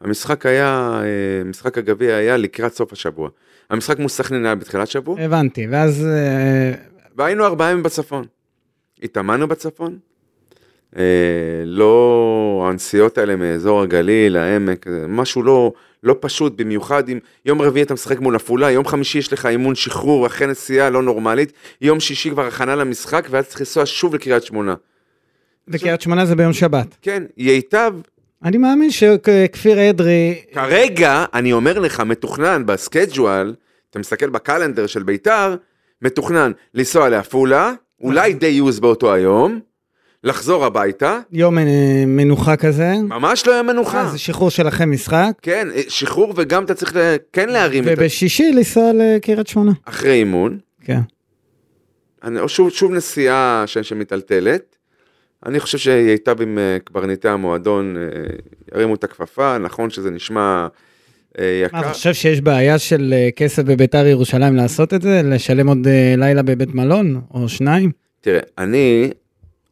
[SPEAKER 3] המשחק היה, אה, משחק הגביע היה לקראת סוף השבוע. המשחק מול סכנין היה בתחילת שבוע,
[SPEAKER 2] הבנתי, ואז... אה,
[SPEAKER 3] והיינו ארבעה ימים בצפון. התאמנו בצפון. אה, לא, הנסיעות האלה מאזור הגליל, העמק, אה, משהו לא, לא פשוט, במיוחד אם יום רביעי אתה משחק מול עפולה, יום חמישי יש לך אימון שחרור אחרי נסיעה לא נורמלית, יום שישי כבר הכנה למשחק ואז צריך לנסוע שוב לקריית שמונה.
[SPEAKER 2] וקריית שמונה זה ביום שבת.
[SPEAKER 3] כן, ייטב,
[SPEAKER 2] אני מאמין שכפיר אדרי,
[SPEAKER 3] כרגע, אני אומר לך, מתוכנן בסקייג'ואל, אתה מסתכל בקלנדר של ביתר, מתוכנן לנסוע לעפולה, אולי די יוז באותו היום, לחזור הביתה,
[SPEAKER 2] יום אה, מנוחה כזה,
[SPEAKER 3] ממש לא יהיה
[SPEAKER 2] אה,
[SPEAKER 3] מנוחה.
[SPEAKER 2] זה שחרור של אחרי משחק,
[SPEAKER 3] כן, שחרור וגם אתה צריך ל- כן להרים את ה...
[SPEAKER 2] ובשישי לנסוע לקריית שמונה.
[SPEAKER 3] אחרי אימון,
[SPEAKER 2] כן.
[SPEAKER 3] אני, או שוב, שוב נסיעה ש- שמתעלתלת. אני חושב שהיא הייתה עם אה, קברניטי המועדון, אה, ירימו את הכפפה, נכון שזה נשמע אה,
[SPEAKER 2] מה, אתה
[SPEAKER 3] יקר.
[SPEAKER 2] חושב שיש בעיה של אה, כסף בביתר ירושלים לעשות את זה? לשלם עוד אה, לילה בבית מלון, או שניים?
[SPEAKER 3] תראה, אני,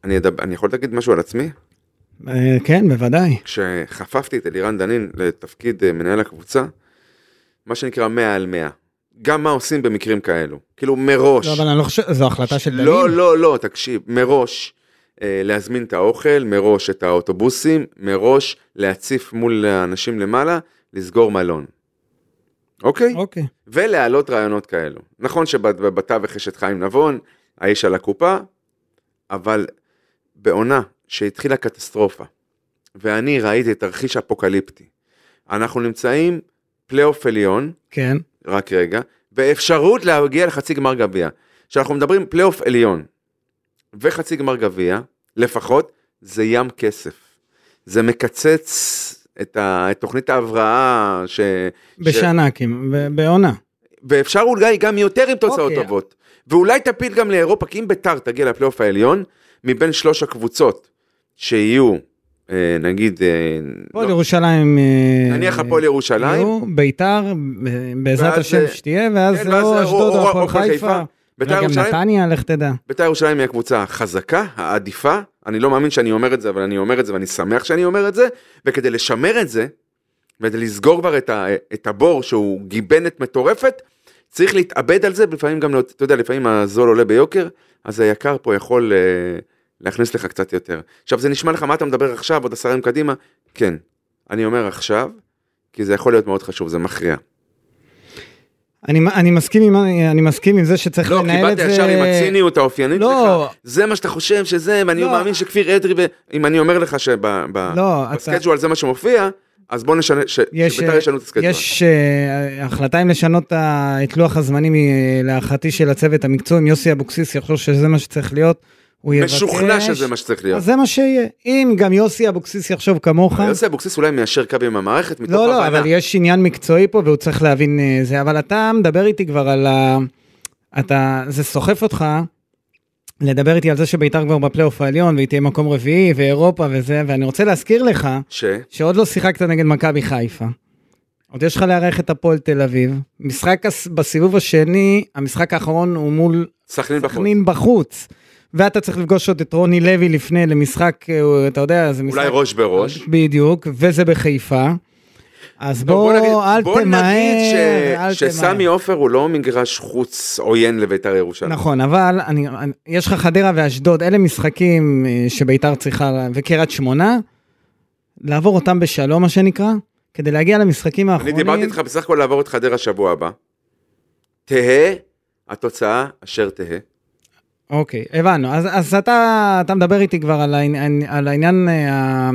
[SPEAKER 3] אני, אדבר, אני יכול להגיד משהו על עצמי?
[SPEAKER 2] אה, כן, בוודאי.
[SPEAKER 3] כשחפפתי את אלירן דנין לתפקיד אה, מנהל הקבוצה, מה שנקרא 100 על 100. גם מה עושים במקרים כאלו, כאילו מראש.
[SPEAKER 2] לא, אבל אני לא חושב, זו החלטה של דנים.
[SPEAKER 3] לא, לא, לא, תקשיב, מראש אה, להזמין את האוכל, מראש את האוטובוסים, מראש להציף מול האנשים למעלה, לסגור מלון. אוקיי?
[SPEAKER 2] אוקיי.
[SPEAKER 3] ולהעלות רעיונות כאלו. נכון שבתווך יש את חיים נבון, האיש על הקופה, אבל בעונה שהתחילה קטסטרופה, ואני ראיתי תרחיש אפוקליפטי, אנחנו נמצאים פלייאוף עליון,
[SPEAKER 2] כן,
[SPEAKER 3] רק רגע, באפשרות להגיע לחצי גמר גביע. כשאנחנו מדברים פלייאוף עליון וחצי גמר גביע, לפחות, זה ים כסף. זה מקצץ את, ה... את תוכנית ההבראה ש... ש... לא.
[SPEAKER 2] בשנה, כאילו, ב- בעונה.
[SPEAKER 3] ואפשר אולי גם יותר עם תוצאות
[SPEAKER 2] אוקיי.
[SPEAKER 3] okay. טובות. ואולי תפיל גם לאירופה, כי אם ביתר תגיע לפלייאוף העליון, מבין שלוש הקבוצות שיהיו, אה, נגיד, אה,
[SPEAKER 2] הפועל ירושלים... אה,
[SPEAKER 3] נניח הפועל ירושלים,
[SPEAKER 2] יהיו, ביתר, ב- בעזרת
[SPEAKER 3] ואז,
[SPEAKER 2] השם
[SPEAKER 3] אה,
[SPEAKER 2] שתהיה, ואז
[SPEAKER 3] כן,
[SPEAKER 2] זה
[SPEAKER 3] ואז
[SPEAKER 2] או
[SPEAKER 3] או-
[SPEAKER 2] אשדוד
[SPEAKER 3] או-
[SPEAKER 2] או
[SPEAKER 3] או
[SPEAKER 2] הפועל
[SPEAKER 3] הפועל
[SPEAKER 2] חיפה.
[SPEAKER 3] חיפה. ביתר
[SPEAKER 2] אולי גם
[SPEAKER 3] ירושלים?
[SPEAKER 2] נתניה, לך תדע.
[SPEAKER 3] ביתר ירושלים היא הקבוצה החזקה, העדיפה, אני לא מאמין שאני אומר את זה, אבל אני אומר את זה ואני שמח שאני אומר את זה, וכדי לשמר את זה, וכדי לסגור כבר את, ה, את הבור שהוא גיבנת מטורפת, צריך להתאבד על זה, ולפעמים גם, להוצ- אתה יודע, לפעמים הזול עולה ביוקר, אז היקר פה יכול אה, להכניס לך קצת יותר. עכשיו, זה נשמע לך, מה אתה מדבר עכשיו, עוד עשרה ימים קדימה? כן, אני אומר עכשיו, כי זה יכול להיות מאוד חשוב, זה מכריע.
[SPEAKER 2] אני, אני, מסכים עם, אני מסכים עם זה שצריך
[SPEAKER 3] לא, כי
[SPEAKER 2] לנהל את
[SPEAKER 3] באת
[SPEAKER 2] זה...
[SPEAKER 3] ישר עם הציניות האופיינית
[SPEAKER 2] לא.
[SPEAKER 3] לך. זה מה שאתה חושב שזה, ואני
[SPEAKER 2] לא.
[SPEAKER 3] מאמין שכפיר אדרי, ו- אם אני אומר לך שבסקייג'ואל
[SPEAKER 2] לא, אתה,
[SPEAKER 3] זה מה שמופיע, אז בוא נשנה, ש-
[SPEAKER 2] יש,
[SPEAKER 3] שביתר ישנו את הסקייג'ואל.
[SPEAKER 2] יש אה, החלטה אם לשנות ה- את לוח הזמנים היא, להערכתי של הצוות המקצועי, אם יוסי אבוקסיס יחשוב שזה מה שצריך להיות, הוא יבקש.
[SPEAKER 3] משוכנע שזה מה שצריך להיות.
[SPEAKER 2] אז זה מה שיהיה. אם גם יוסי אבוקסיס יחשוב כמוך,
[SPEAKER 3] יוסי אבוקסיס אולי מיישר קו עם המערכת, מתוך
[SPEAKER 2] לא, לא,
[SPEAKER 3] הבנה.
[SPEAKER 2] אבל יש עניין מקצועי פה והוא צריך להבין אה, זה, אבל אתה מדבר איתי כבר על ה... אתה, זה סוחף אותך לדבר איתי על זה שביתר כבר בפלייאוף העליון והיא תהיה מקום רביעי ואירופה וזה, ואני רוצה להזכיר לך
[SPEAKER 3] ש...
[SPEAKER 2] שעוד לא שיחקת נגד מכבי חיפה. עוד יש לך לארח את הפועל תל אביב. משחק הס- בסיבוב השני, המשחק האחרון הוא מול
[SPEAKER 3] סכנין בחוץ.
[SPEAKER 2] סכנין בחוץ. ואתה צריך לפגוש עוד את רוני לוי לפני למשחק, אה, אתה יודע, זה משחק...
[SPEAKER 3] אולי ראש בראש.
[SPEAKER 2] בדיוק, וזה בחיפה. אז
[SPEAKER 3] טוב,
[SPEAKER 2] בוא,
[SPEAKER 3] נגיד-
[SPEAKER 2] אל
[SPEAKER 3] בוא נגיד ש-
[SPEAKER 2] תמהר, אל
[SPEAKER 3] שסמי
[SPEAKER 2] תמהר.
[SPEAKER 3] עופר הוא לא מגרש חוץ עוין לביתר ירושלים.
[SPEAKER 2] נכון, אבל אני, אני, יש לך חדרה ואשדוד, אלה משחקים אה, שביתר צריכה, וקריית שמונה, לעבור אותם בשלום, מה שנקרא, כדי להגיע למשחקים
[SPEAKER 3] אני
[SPEAKER 2] האחרונים.
[SPEAKER 3] דיברתי איתך בסך הכל לעבור את חדרה שבוע הבא. תהא התוצאה אשר תהא.
[SPEAKER 2] אוקיי, הבנו. אז, אז אתה, אתה מדבר איתי כבר על, העניין, על העניין, אה, ה-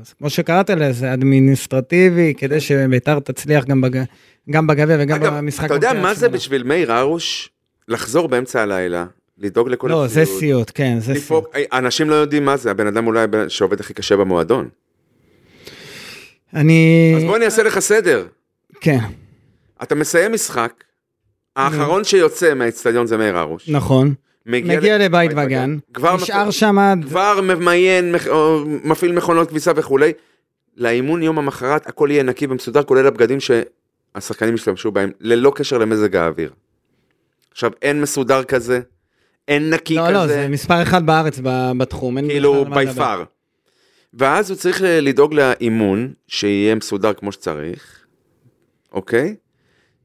[SPEAKER 2] אז כמו שקראת לזה, אדמיניסטרטיבי, כדי שביתר תצליח גם, בג, גם בגביע וגם
[SPEAKER 3] אגב,
[SPEAKER 2] במשחק.
[SPEAKER 3] אתה יודע
[SPEAKER 2] מול
[SPEAKER 3] מה
[SPEAKER 2] קריית
[SPEAKER 3] זה
[SPEAKER 2] שמונה.
[SPEAKER 3] בשביל מאיר הרוש לחזור באמצע הלילה לדאוג לכל
[SPEAKER 2] לא, זה סיוט, כן, זה סיוט.
[SPEAKER 3] לפרוק- אנשים לא יודעים מה זה, הבן אדם אולי הבן- שעובד הכי קשה במועדון.
[SPEAKER 2] אני...
[SPEAKER 3] אז בוא אני אעשה לך סדר.
[SPEAKER 2] כן,
[SPEAKER 3] אתה מסיים משחק, האחרון שיוצא מהאיצטדיון זה מאיר הרוש.
[SPEAKER 2] נכון. מגיע
[SPEAKER 3] ל-
[SPEAKER 2] לבית וגן,
[SPEAKER 3] כבר
[SPEAKER 2] נשאר
[SPEAKER 3] מפעיל-
[SPEAKER 2] שם עד...
[SPEAKER 3] כבר ממיין, מח- או מפעיל מכונות כביסה וכולי. לאימון יום המחרת הכל יהיה נקי ומסודר, כולל הבגדים שהשחקנים ישתמשו בהם, ללא קשר למזג האוויר. עכשיו, אין מסודר כזה, אין נקי
[SPEAKER 2] לא,
[SPEAKER 3] כזה.
[SPEAKER 2] לא, זה מספר אחד בארץ ב- בתחום. אין
[SPEAKER 3] כאילו
[SPEAKER 2] בכלל מה
[SPEAKER 3] by
[SPEAKER 2] לדבר.
[SPEAKER 3] far. ואז הוא צריך אה, לדאוג לאימון, שיהיה מסודר כמו שצריך, אוקיי?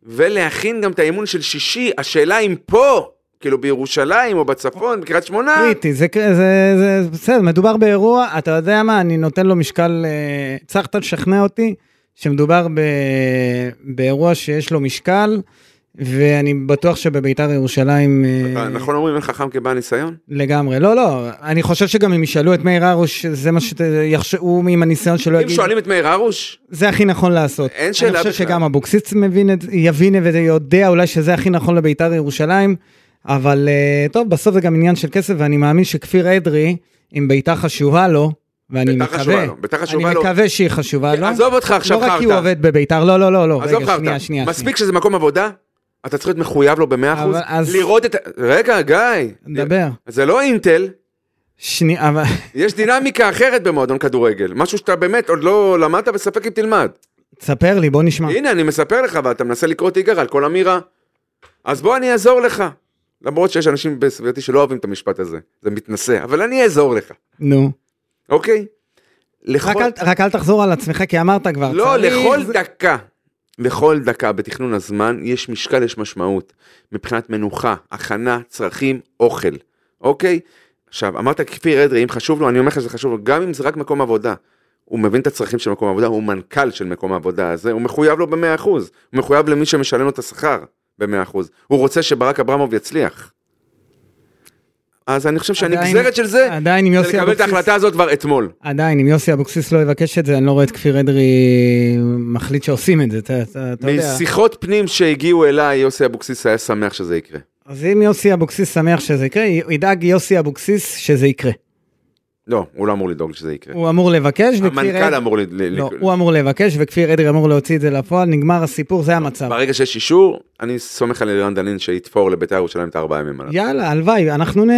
[SPEAKER 3] ולהכין גם את האימון של שישי, השאלה אם פה, כאילו בירושלים או בצפון, בקריית שמונה,
[SPEAKER 2] קריטי, זה, זה, זה, זה בסדר, מדובר באירוע, אתה יודע מה, אני נותן לו משקל, אה, הצלחת לשכנע אותי שמדובר ב, באירוע שיש לו משקל, ואני בטוח שבביתר ירושלים אה,
[SPEAKER 3] אתה- נכון אומרים אין חכם כבעל ניסיון?
[SPEAKER 2] לגמרי. לא, לא, אני חושב שגם אם ישאלו את מאיר הרוש, זה מה שיחשבו עם הניסיון שלו,
[SPEAKER 3] אם
[SPEAKER 2] לא יגיד,
[SPEAKER 3] שואלים את מאיר הרוש,
[SPEAKER 2] זה הכי נכון לעשות.
[SPEAKER 3] אין שאלה
[SPEAKER 2] אני חושב
[SPEAKER 3] בכלל.
[SPEAKER 2] שגם אבוקסיס מבין את, יבין ויודע אולי שזה הכי נכון לביתר ירושלים, אבל אה, טוב, בסוף זה גם עניין של כסף, ואני מאמין שכפיר אדרי, אם ביתר חשובה לו, ואני
[SPEAKER 3] ביתר חשובה
[SPEAKER 2] מקווה,
[SPEAKER 3] לו, ביתר
[SPEAKER 2] אני
[SPEAKER 3] חשובה לו. כן,
[SPEAKER 2] מקווה שהיא חשובה לו,
[SPEAKER 3] עזוב אותך עכשיו
[SPEAKER 2] לא רק כי הוא
[SPEAKER 3] חרטא,
[SPEAKER 2] עובד בביתר, לא, לא, לא, לא,
[SPEAKER 3] עזוב
[SPEAKER 2] רגע, שנייה,
[SPEAKER 3] חרטא,
[SPEAKER 2] שנייה,
[SPEAKER 3] מספיק שזה מקום עבודה, אתה צריך להיות מחויב לו ב-100%,
[SPEAKER 2] אבל אז-
[SPEAKER 3] לראות את, ה- רגע גיא,
[SPEAKER 2] שנייה, דבר,
[SPEAKER 3] זה לא אינטל,
[SPEAKER 2] שנייה, אבל...
[SPEAKER 3] יש דינמיקה אחרת במועדון כדורגל, משהו שאתה באמת עוד לא למדת וספק אם תלמד.
[SPEAKER 2] תספר לי, בוא נשמע.
[SPEAKER 3] הנה, אני מספר לך, ואתה מנסה לקרוא תיגר על כל אמירה. אז בוא אני אעזור לך. למרות שיש אנשים בסביבתי שלא אוהבים את המשפט הזה, זה מתנשא, אבל אני אעזור לך,
[SPEAKER 2] נו.
[SPEAKER 3] אוקיי?
[SPEAKER 2] רק
[SPEAKER 3] לכל...
[SPEAKER 2] אל- רק אל תחזור על עצמך, כי אמרת כבר.
[SPEAKER 3] נכון. לא,
[SPEAKER 2] צריך-
[SPEAKER 3] לכל דקה, לכל דקה בתכנון הזמן יש משקל, יש משמעות. מבחינת מנוחה, הכנה, צרכים, אוכל, אוקיי? עכשיו, אמרת כפיר אדרי, אם חשוב לו, אני אומר לך שזה חשוב לו, גם אם זה רק מקום עבודה. הוא מבין את הצרכים של מקום העבודה, הוא מנכ"ל של מקום העבודה הזה, הוא מחויב לו ב-100%, הוא מחויב למי שמשלם לו את השכר ב-100%, הוא רוצה שברק אברמוב יצליח. אז אני חושב
[SPEAKER 2] עדיין-
[SPEAKER 3] שהנגזרת של זה,
[SPEAKER 2] עדיין עם
[SPEAKER 3] זה
[SPEAKER 2] יוסי
[SPEAKER 3] לקבל את
[SPEAKER 2] אבוקסיס.
[SPEAKER 3] ההחלטה הזאת כבר אתמול.
[SPEAKER 2] עדיין, אם יוסי אבוקסיס לא יבקש את זה, אני לא רואה את כפיר אדרי מחליט שעושים את זה, אתה, אתה, אתה יודע.
[SPEAKER 3] משיחות פנים שהגיעו אליי, יוסי אבוקסיס היה שמח שזה יקרה.
[SPEAKER 2] אז אם יוסי אבוקסיס שמח שזה יקרה, י- ידאג יוסי אבוקסיס שזה יקרה.
[SPEAKER 3] לא, הוא לא אמור לדאוג שזה יקרה.
[SPEAKER 2] הוא אמור לבקש, וכפיר
[SPEAKER 3] המנכ"ל
[SPEAKER 2] אדרי...
[SPEAKER 3] אמור... לד- ל-
[SPEAKER 2] לא,
[SPEAKER 3] ל-
[SPEAKER 2] הוא אמור לבקש, וכפיר אדרי אמור להוציא את זה לפועל, נגמר הסיפור, זה המצב.
[SPEAKER 3] ברגע שיש אישור, אני סומך על אלירן דנין שיתפור לבית"ר ירושלים את הארבעה ימים עליו.
[SPEAKER 2] יאללה, הלוואי, אנחנו נ...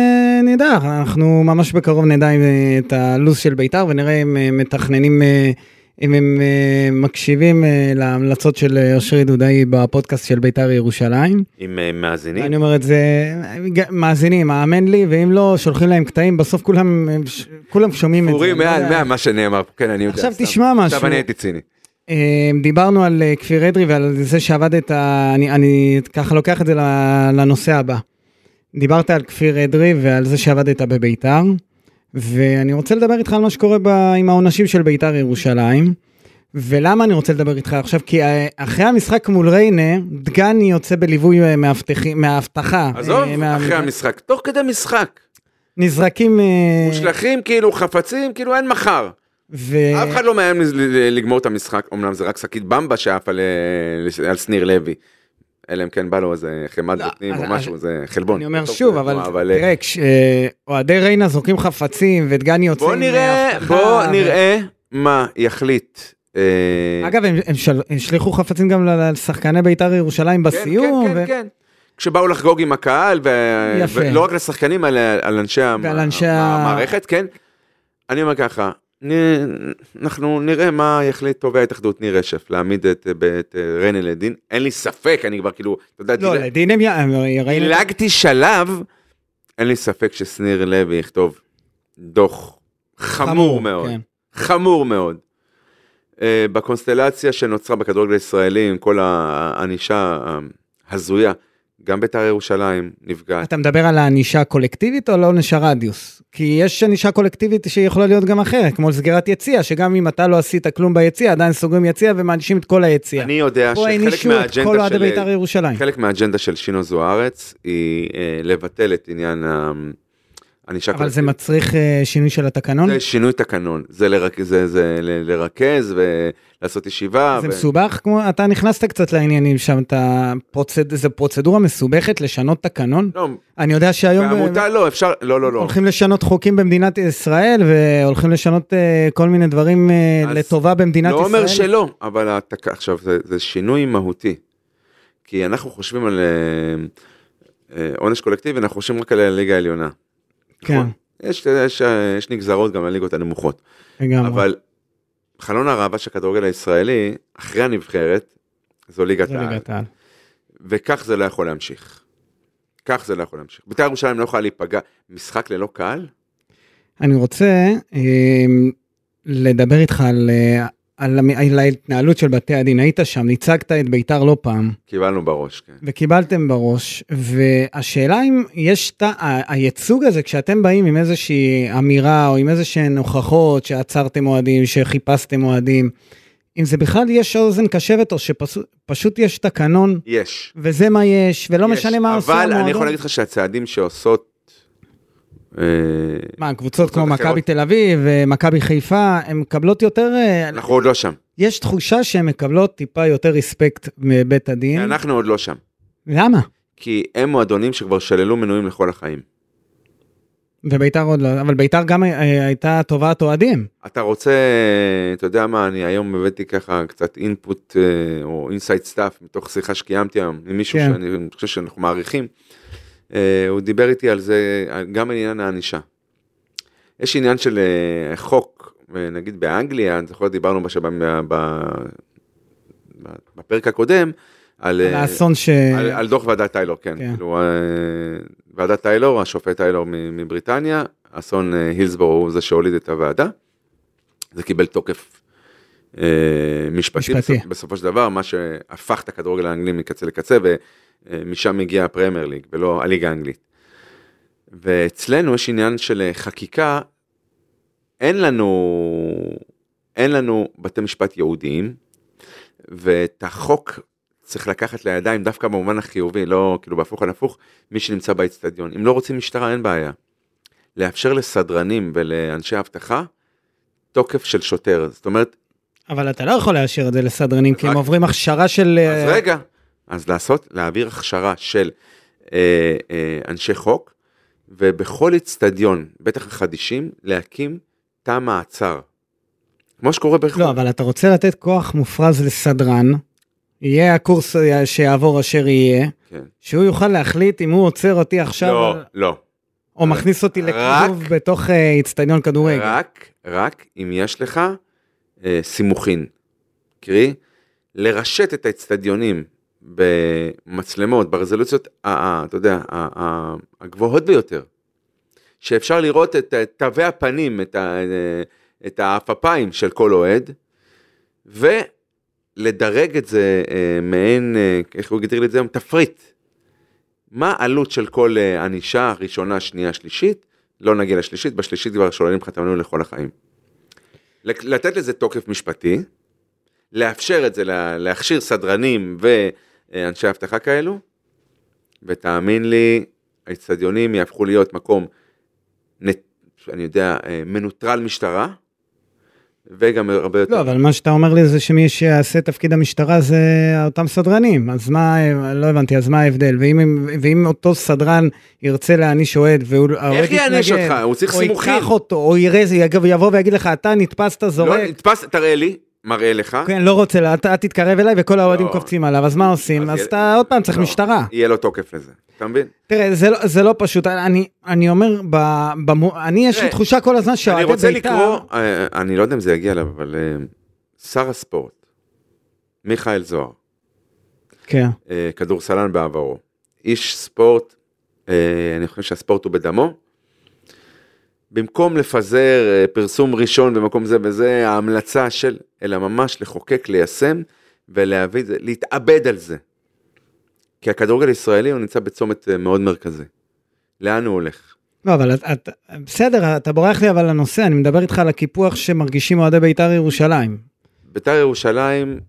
[SPEAKER 2] נדע, אנחנו ממש בקרוב נדע אם, אה, את הלו"ז של בית"ר, ונראה אם אה, מתכננים, אה, אם הם אה, מקשיבים אה, להמלצות של אה, אושרי דודאי בפודקאסט של בית"ר ירושלים.
[SPEAKER 3] עם אה, מאזינים?
[SPEAKER 2] אני אומר את זה, ג- מאזינים, האמן לי, ואם לא, שולחים להם קטעים, בסוף כולם, הם ש- כולם שומעים את זה.
[SPEAKER 3] פורים
[SPEAKER 2] אני לא
[SPEAKER 3] מעל
[SPEAKER 2] יודע.
[SPEAKER 3] 100 מה שנאמר פה, כן, אני יודע.
[SPEAKER 2] עכשיו
[SPEAKER 3] סתם.
[SPEAKER 2] תשמע משהו.
[SPEAKER 3] עכשיו אני הייתי ציני.
[SPEAKER 2] אה, דיברנו על אה, כפיר אדרי ועל זה שעבדת, אני, אני ככה לוקח את זה ל- לנושא הבא. דיברת על כפיר אדרי ועל זה שעבדת בביתר, ואני רוצה לדבר איתך על מה שקורה ב, עם העונשים של ביתר ירושלים. ולמה אני רוצה לדבר איתך עכשיו? כי אה, אחרי המשחק מול ריינה, דגני יוצא בליווי אה, מאבטחים- מהאבטחה.
[SPEAKER 3] עזוב,
[SPEAKER 2] אה, מה-
[SPEAKER 3] אחרי המשחק, תוך כדי משחק.
[SPEAKER 2] נזרקים... אה,
[SPEAKER 3] מושלכים כאילו חפצים, כאילו אין מחר.
[SPEAKER 2] ו...
[SPEAKER 3] אף אחד לא מאיים לז- ל- ל- לגמור את המשחק, אמנם זה רק שקית במבה שעפה ל- ל- על שניר לוי. אלא אם כן בא לו איזה חמאת
[SPEAKER 2] לא,
[SPEAKER 3] בוטנים
[SPEAKER 2] אז-
[SPEAKER 3] או
[SPEAKER 2] אז-
[SPEAKER 3] משהו, זה חלבון.
[SPEAKER 2] אני אומר
[SPEAKER 3] טוב,
[SPEAKER 2] שוב,
[SPEAKER 3] זה
[SPEAKER 2] אבל
[SPEAKER 3] תנועה, אה,
[SPEAKER 2] תראה, כש- אה, אוהדי ריינה זורקים חפצים ודגני יוצא
[SPEAKER 3] בוא
[SPEAKER 2] עם
[SPEAKER 3] נראה,
[SPEAKER 2] אבטחה,
[SPEAKER 3] בוא
[SPEAKER 2] ו-
[SPEAKER 3] נראה מה יחליט. אה,
[SPEAKER 2] אגב, הם הם של- הם השליכו חפצים גם ל- לשחקני בית"ר ירושלים
[SPEAKER 3] כן,
[SPEAKER 2] בסיום,
[SPEAKER 3] כן,
[SPEAKER 2] ו-
[SPEAKER 3] כן, כן. כשבאו לחגוג עם הקהל, ו-
[SPEAKER 2] יפה.
[SPEAKER 3] ולא רק לשחקנים, אלא על אנשי המ-
[SPEAKER 2] ועל אנשי ה-
[SPEAKER 3] המערכת, כן. אני אומר ככה, נ- אנחנו נראה מה יחליט תובע ההתאחדות ניר רשף, להעמיד את את, אה, ריינה לדין. אין לי ספק, אני כבר כאילו, אתה יודע,
[SPEAKER 2] לא,
[SPEAKER 3] דיל-
[SPEAKER 2] לדין הם י- הם- ריינה,
[SPEAKER 3] דילגתי שלב, אין לי ספק ששניר לוי יכתוב דוח חמור מאוד.
[SPEAKER 2] כן.
[SPEAKER 3] חמור מאוד. אה, בקונסטלציה שנוצרה בכדורגל הישראלי עם כל הענישה ההזויה, גם בית"ר ירושלים נפגעת.
[SPEAKER 2] אתה מדבר על הענישה הקולקטיבית או על עונש הרדיוס? כי יש ענישה קולקטיבית שיכולה להיות גם אחרת, כמו סגירת יציע, שגם אם אתה לא עשית כלום ביציע, עדיין סוגרים יציע ומענישים את כל היציע.
[SPEAKER 3] אני יודע
[SPEAKER 2] פה
[SPEAKER 3] שחלק
[SPEAKER 2] הענישו את כל
[SPEAKER 3] מהאג'נדה
[SPEAKER 2] אוהדי
[SPEAKER 3] של,
[SPEAKER 2] בית"ר ירושלים.
[SPEAKER 3] חלק מהאג'נדה של שינו זוארץ היא אה, לבטל את עניין ה- ענישה
[SPEAKER 2] אבל זה
[SPEAKER 3] קולקטיבית.
[SPEAKER 2] מצריך אה, שינוי של התקנון?
[SPEAKER 3] זה שינוי תקנון, זה, לרק, זה, זה ל- לרכז ולעשות ישיבה.
[SPEAKER 2] זה מסובך? כמו, אתה נכנסת קצת לעניינים שם, אתה פרוצד... זו פרוצדורה מסובכת לשנות תקנון?
[SPEAKER 3] לא,
[SPEAKER 2] אני יודע שהיום...
[SPEAKER 3] בעמותה לא, אפשר, לא, לא, לא.
[SPEAKER 2] הולכים לשנות חוקים במדינת ישראל והולכים לשנות אה, כל מיני דברים אה,
[SPEAKER 3] אז
[SPEAKER 2] לטובה במדינת
[SPEAKER 3] לא
[SPEAKER 2] ישראל.
[SPEAKER 3] אומר שלא, אבל התק... עכשיו זה, זה שינוי מהותי. כי אנחנו חושבים על אה, אה, עונש קולקטיבי, אנחנו חושבים רק על הליגה העליונה.
[SPEAKER 2] כן,
[SPEAKER 3] נכון. יש, יש, אה, יש נגזרות גם לליגות הנמוכות.
[SPEAKER 2] לגמרי.
[SPEAKER 3] אבל חלון הראווה של הכדורגל הישראלי, אחרי הנבחרת, זו ליגת
[SPEAKER 2] זה
[SPEAKER 3] העל.
[SPEAKER 2] ליגת העל.
[SPEAKER 3] וכך זה לא יכול להמשיך. כך זה לא יכול להמשיך. בית"ר ירושלים לא יכולה להיפגע. משחק ללא קהל?
[SPEAKER 2] אני רוצה אה, לדבר איתך על, אה, על, המ- על ההתנהלות של בתי הדין. היית שם, ייצגת את בית"ר לא פעם,
[SPEAKER 3] קיבלנו בראש, כן.
[SPEAKER 2] וקיבלתם בראש, והשאלה אם יש את ה- הייצוג הזה, כשאתם באים עם איזושהי אמירה או עם איזשהן הוכחות שעצרתם אוהדים, שחיפשתם אוהדים, אם זה בכלל יש אוזן קשבת או שפשוט יש תקנון
[SPEAKER 3] יש.
[SPEAKER 2] וזה מה יש, ולא
[SPEAKER 3] יש.
[SPEAKER 2] לא משנה מה עושה המועדון.
[SPEAKER 3] אבל אני יכול להגיד לך שהצעדים שעושות... אה,
[SPEAKER 2] מה, קבוצות כמו
[SPEAKER 3] קבוצות אחרות.
[SPEAKER 2] מכבי תל אביב ומכבי חיפה, הן מקבלות יותר... אה,
[SPEAKER 3] אנחנו עוד לא שם.
[SPEAKER 2] יש תחושה שהן מקבלות טיפה יותר ריספקט מבית הדין.
[SPEAKER 3] אנחנו עוד לא שם.
[SPEAKER 2] למה?
[SPEAKER 3] כי הם מועדונים שכבר שללו מנויים לכל החיים.
[SPEAKER 2] וביתר עוד לא, אבל ביתר גם אה, הייתה תובעת אוהדים.
[SPEAKER 3] אתה רוצה, אתה יודע מה, אני היום הבאתי ככה קצת אינפוט אה, או אינסייד סטאפ מתוך שיחה שקיימתי היום עם מישהו
[SPEAKER 2] כן.
[SPEAKER 3] שאני חושב שאנחנו מעריכים. אה, הוא דיבר איתי על זה, על- גם על עניין הענישה. יש עניין של אה, חוק, אה, נגיד באנגליה, אני זוכר דיברנו בש- ב- ב- ב- בפרק הקודם, על
[SPEAKER 2] על
[SPEAKER 3] אה,
[SPEAKER 2] האסון ש...
[SPEAKER 3] על, על דוח ועדת טיילור, כן.
[SPEAKER 2] כן.
[SPEAKER 3] כן. כאילו, אה, ועדת טיילור, השופט טיילור מ- מבריטניה, אסון אה, הילסבורו הוא זה שהוליד את הוועדה. זה קיבל תוקף אה, משפטי,
[SPEAKER 2] משפטי.
[SPEAKER 3] משפטי. בסופ, בסופו של דבר, מה שהפך את הכדורגל האנגלי מקצה לקצה, ומשם הגיעה הפרמייר ליג, ולא הליגה האנגלית. ואצלנו יש עניין של אה, חקיקה, אין לנו, אין לנו בתי משפט ייעודיים, ואת החוק צריך לקחת לידיים דווקא במובן החיובי, לא כאילו בהפוך על הפוך, מי שנמצא באצטדיון. אם לא רוצים משטרה, אין בעיה. לאפשר לסדרנים ולאנשי אבטחה תוקף של שוטר, זאת אומרת,
[SPEAKER 2] אבל אתה לא יכול לאשר את זה לסדרנים, כי הם
[SPEAKER 3] רק-
[SPEAKER 2] עוברים הכשרה של...
[SPEAKER 3] אז
[SPEAKER 2] אה,
[SPEAKER 3] רגע, אז לעשות, להעביר הכשרה של אה, אה, אנשי חוק, ובכל אצטדיון, בטח החדישים, להקים תא מעצר. כמו שקורה ברחוב.
[SPEAKER 2] לא, אבל אתה רוצה לתת כוח מופרז לסדרן, יהיה הקורס אה, שיעבור אשר יהיה,
[SPEAKER 3] כן.
[SPEAKER 2] שהוא יוכל להחליט אם הוא עוצר אותי עכשיו,
[SPEAKER 3] לא,
[SPEAKER 2] על-
[SPEAKER 3] לא.
[SPEAKER 2] או מכניס אותי
[SPEAKER 3] רק-
[SPEAKER 2] לכיתוב בתוך אה, איצטדיון כדורגל.
[SPEAKER 3] רק, רק אם יש לך אה, סימוכין. קרי, לרשת את האצטדיונים במצלמות, ברזולוציות, ה- ה- אתה יודע, ה- ה- הגבוהות ביותר, שאפשר לראות את אה, תווי הפנים, את, ה, אה, את העפפיים של כל אוהד, ולדרג את זה אה, מעין, אה, איך הוא הגדיר לי את זה היום? תפריט. מה העלות של כל אה, ענישה, ראשונה, שנייה, שלישית? לא נגיע לשלישית, בשלישית כבר שוללים לך את המנוי לכל החיים. לק- לתת לזה תוקף משפטי, לאפשר את זה, לה- להכשיר סדרנים ואנשי אבטחה כאלו, ותאמין לי, האצטדיונים יהפכו להיות מקום, נ- אני יודע, אה, מנוטרל משטרה, וגם הרבה יותר...
[SPEAKER 2] לא, אבל מה שאתה אומר לי זה שמי שיעשה את תפקיד המשטרה זה אותם סדרנים, אז מה, לא הבנתי, אז מה ההבדל? ואם, הם- ואם אותו סדרן ירצה להעניש אוהד, והאוהד יתנגד,
[SPEAKER 3] איך יעניש אותך? הוא צריך
[SPEAKER 2] או
[SPEAKER 3] סימוכין.
[SPEAKER 2] ייקח אותו, או יראה, זה יגב- יבוא ויגיד לך, אתה נתפסת,
[SPEAKER 3] לא,
[SPEAKER 2] זורק,
[SPEAKER 3] נתפס, תראה לי, מראה לך.
[SPEAKER 2] כן, לא רוצה, לה, אתה אל תתקרב אליי, וכל האוהדים
[SPEAKER 3] לא.
[SPEAKER 2] קופצים עליו, אז מה עושים?
[SPEAKER 3] אז
[SPEAKER 2] אז
[SPEAKER 3] יהיה-
[SPEAKER 2] אתה עוד פעם צריך
[SPEAKER 3] לא.
[SPEAKER 2] משטרה.
[SPEAKER 3] יהיה לו תוקף לזה, אתה מבין?
[SPEAKER 2] תראה, זה לא- זה לא פשוט, אני- אני אומר, ב- במו- אני יש לי
[SPEAKER 3] תראה,
[SPEAKER 2] תחושה כל הזמן
[SPEAKER 3] אני
[SPEAKER 2] שאוהדי בית"ר...
[SPEAKER 3] רוצה לקרוא, אה, אני לא יודע אם זה יגיע אליו, אבל אה, שר הספורט, מיכאל זוהר,
[SPEAKER 2] כן,
[SPEAKER 3] אה, כדורסלן בעברו, איש ספורט, אה, אני חושב שהספורט הוא בדמו. במקום לפזר אה, פרסום ראשון במקום זה וזה, ההמלצה של, אלא ממש לחוקק, ליישם ולהביא את זה, להתאבד על זה. כי הכדורגל הישראלי הוא נמצא בצומת אה, מאוד מרכזי. לאן הוא הולך?
[SPEAKER 2] לא, אבל את, את, בסדר, אתה בורח לי אבל לנושא, אני מדבר איתך על הקיפוח שמרגישים אוהדי בית"ר ירושלים.
[SPEAKER 3] בית"ר ירושלים,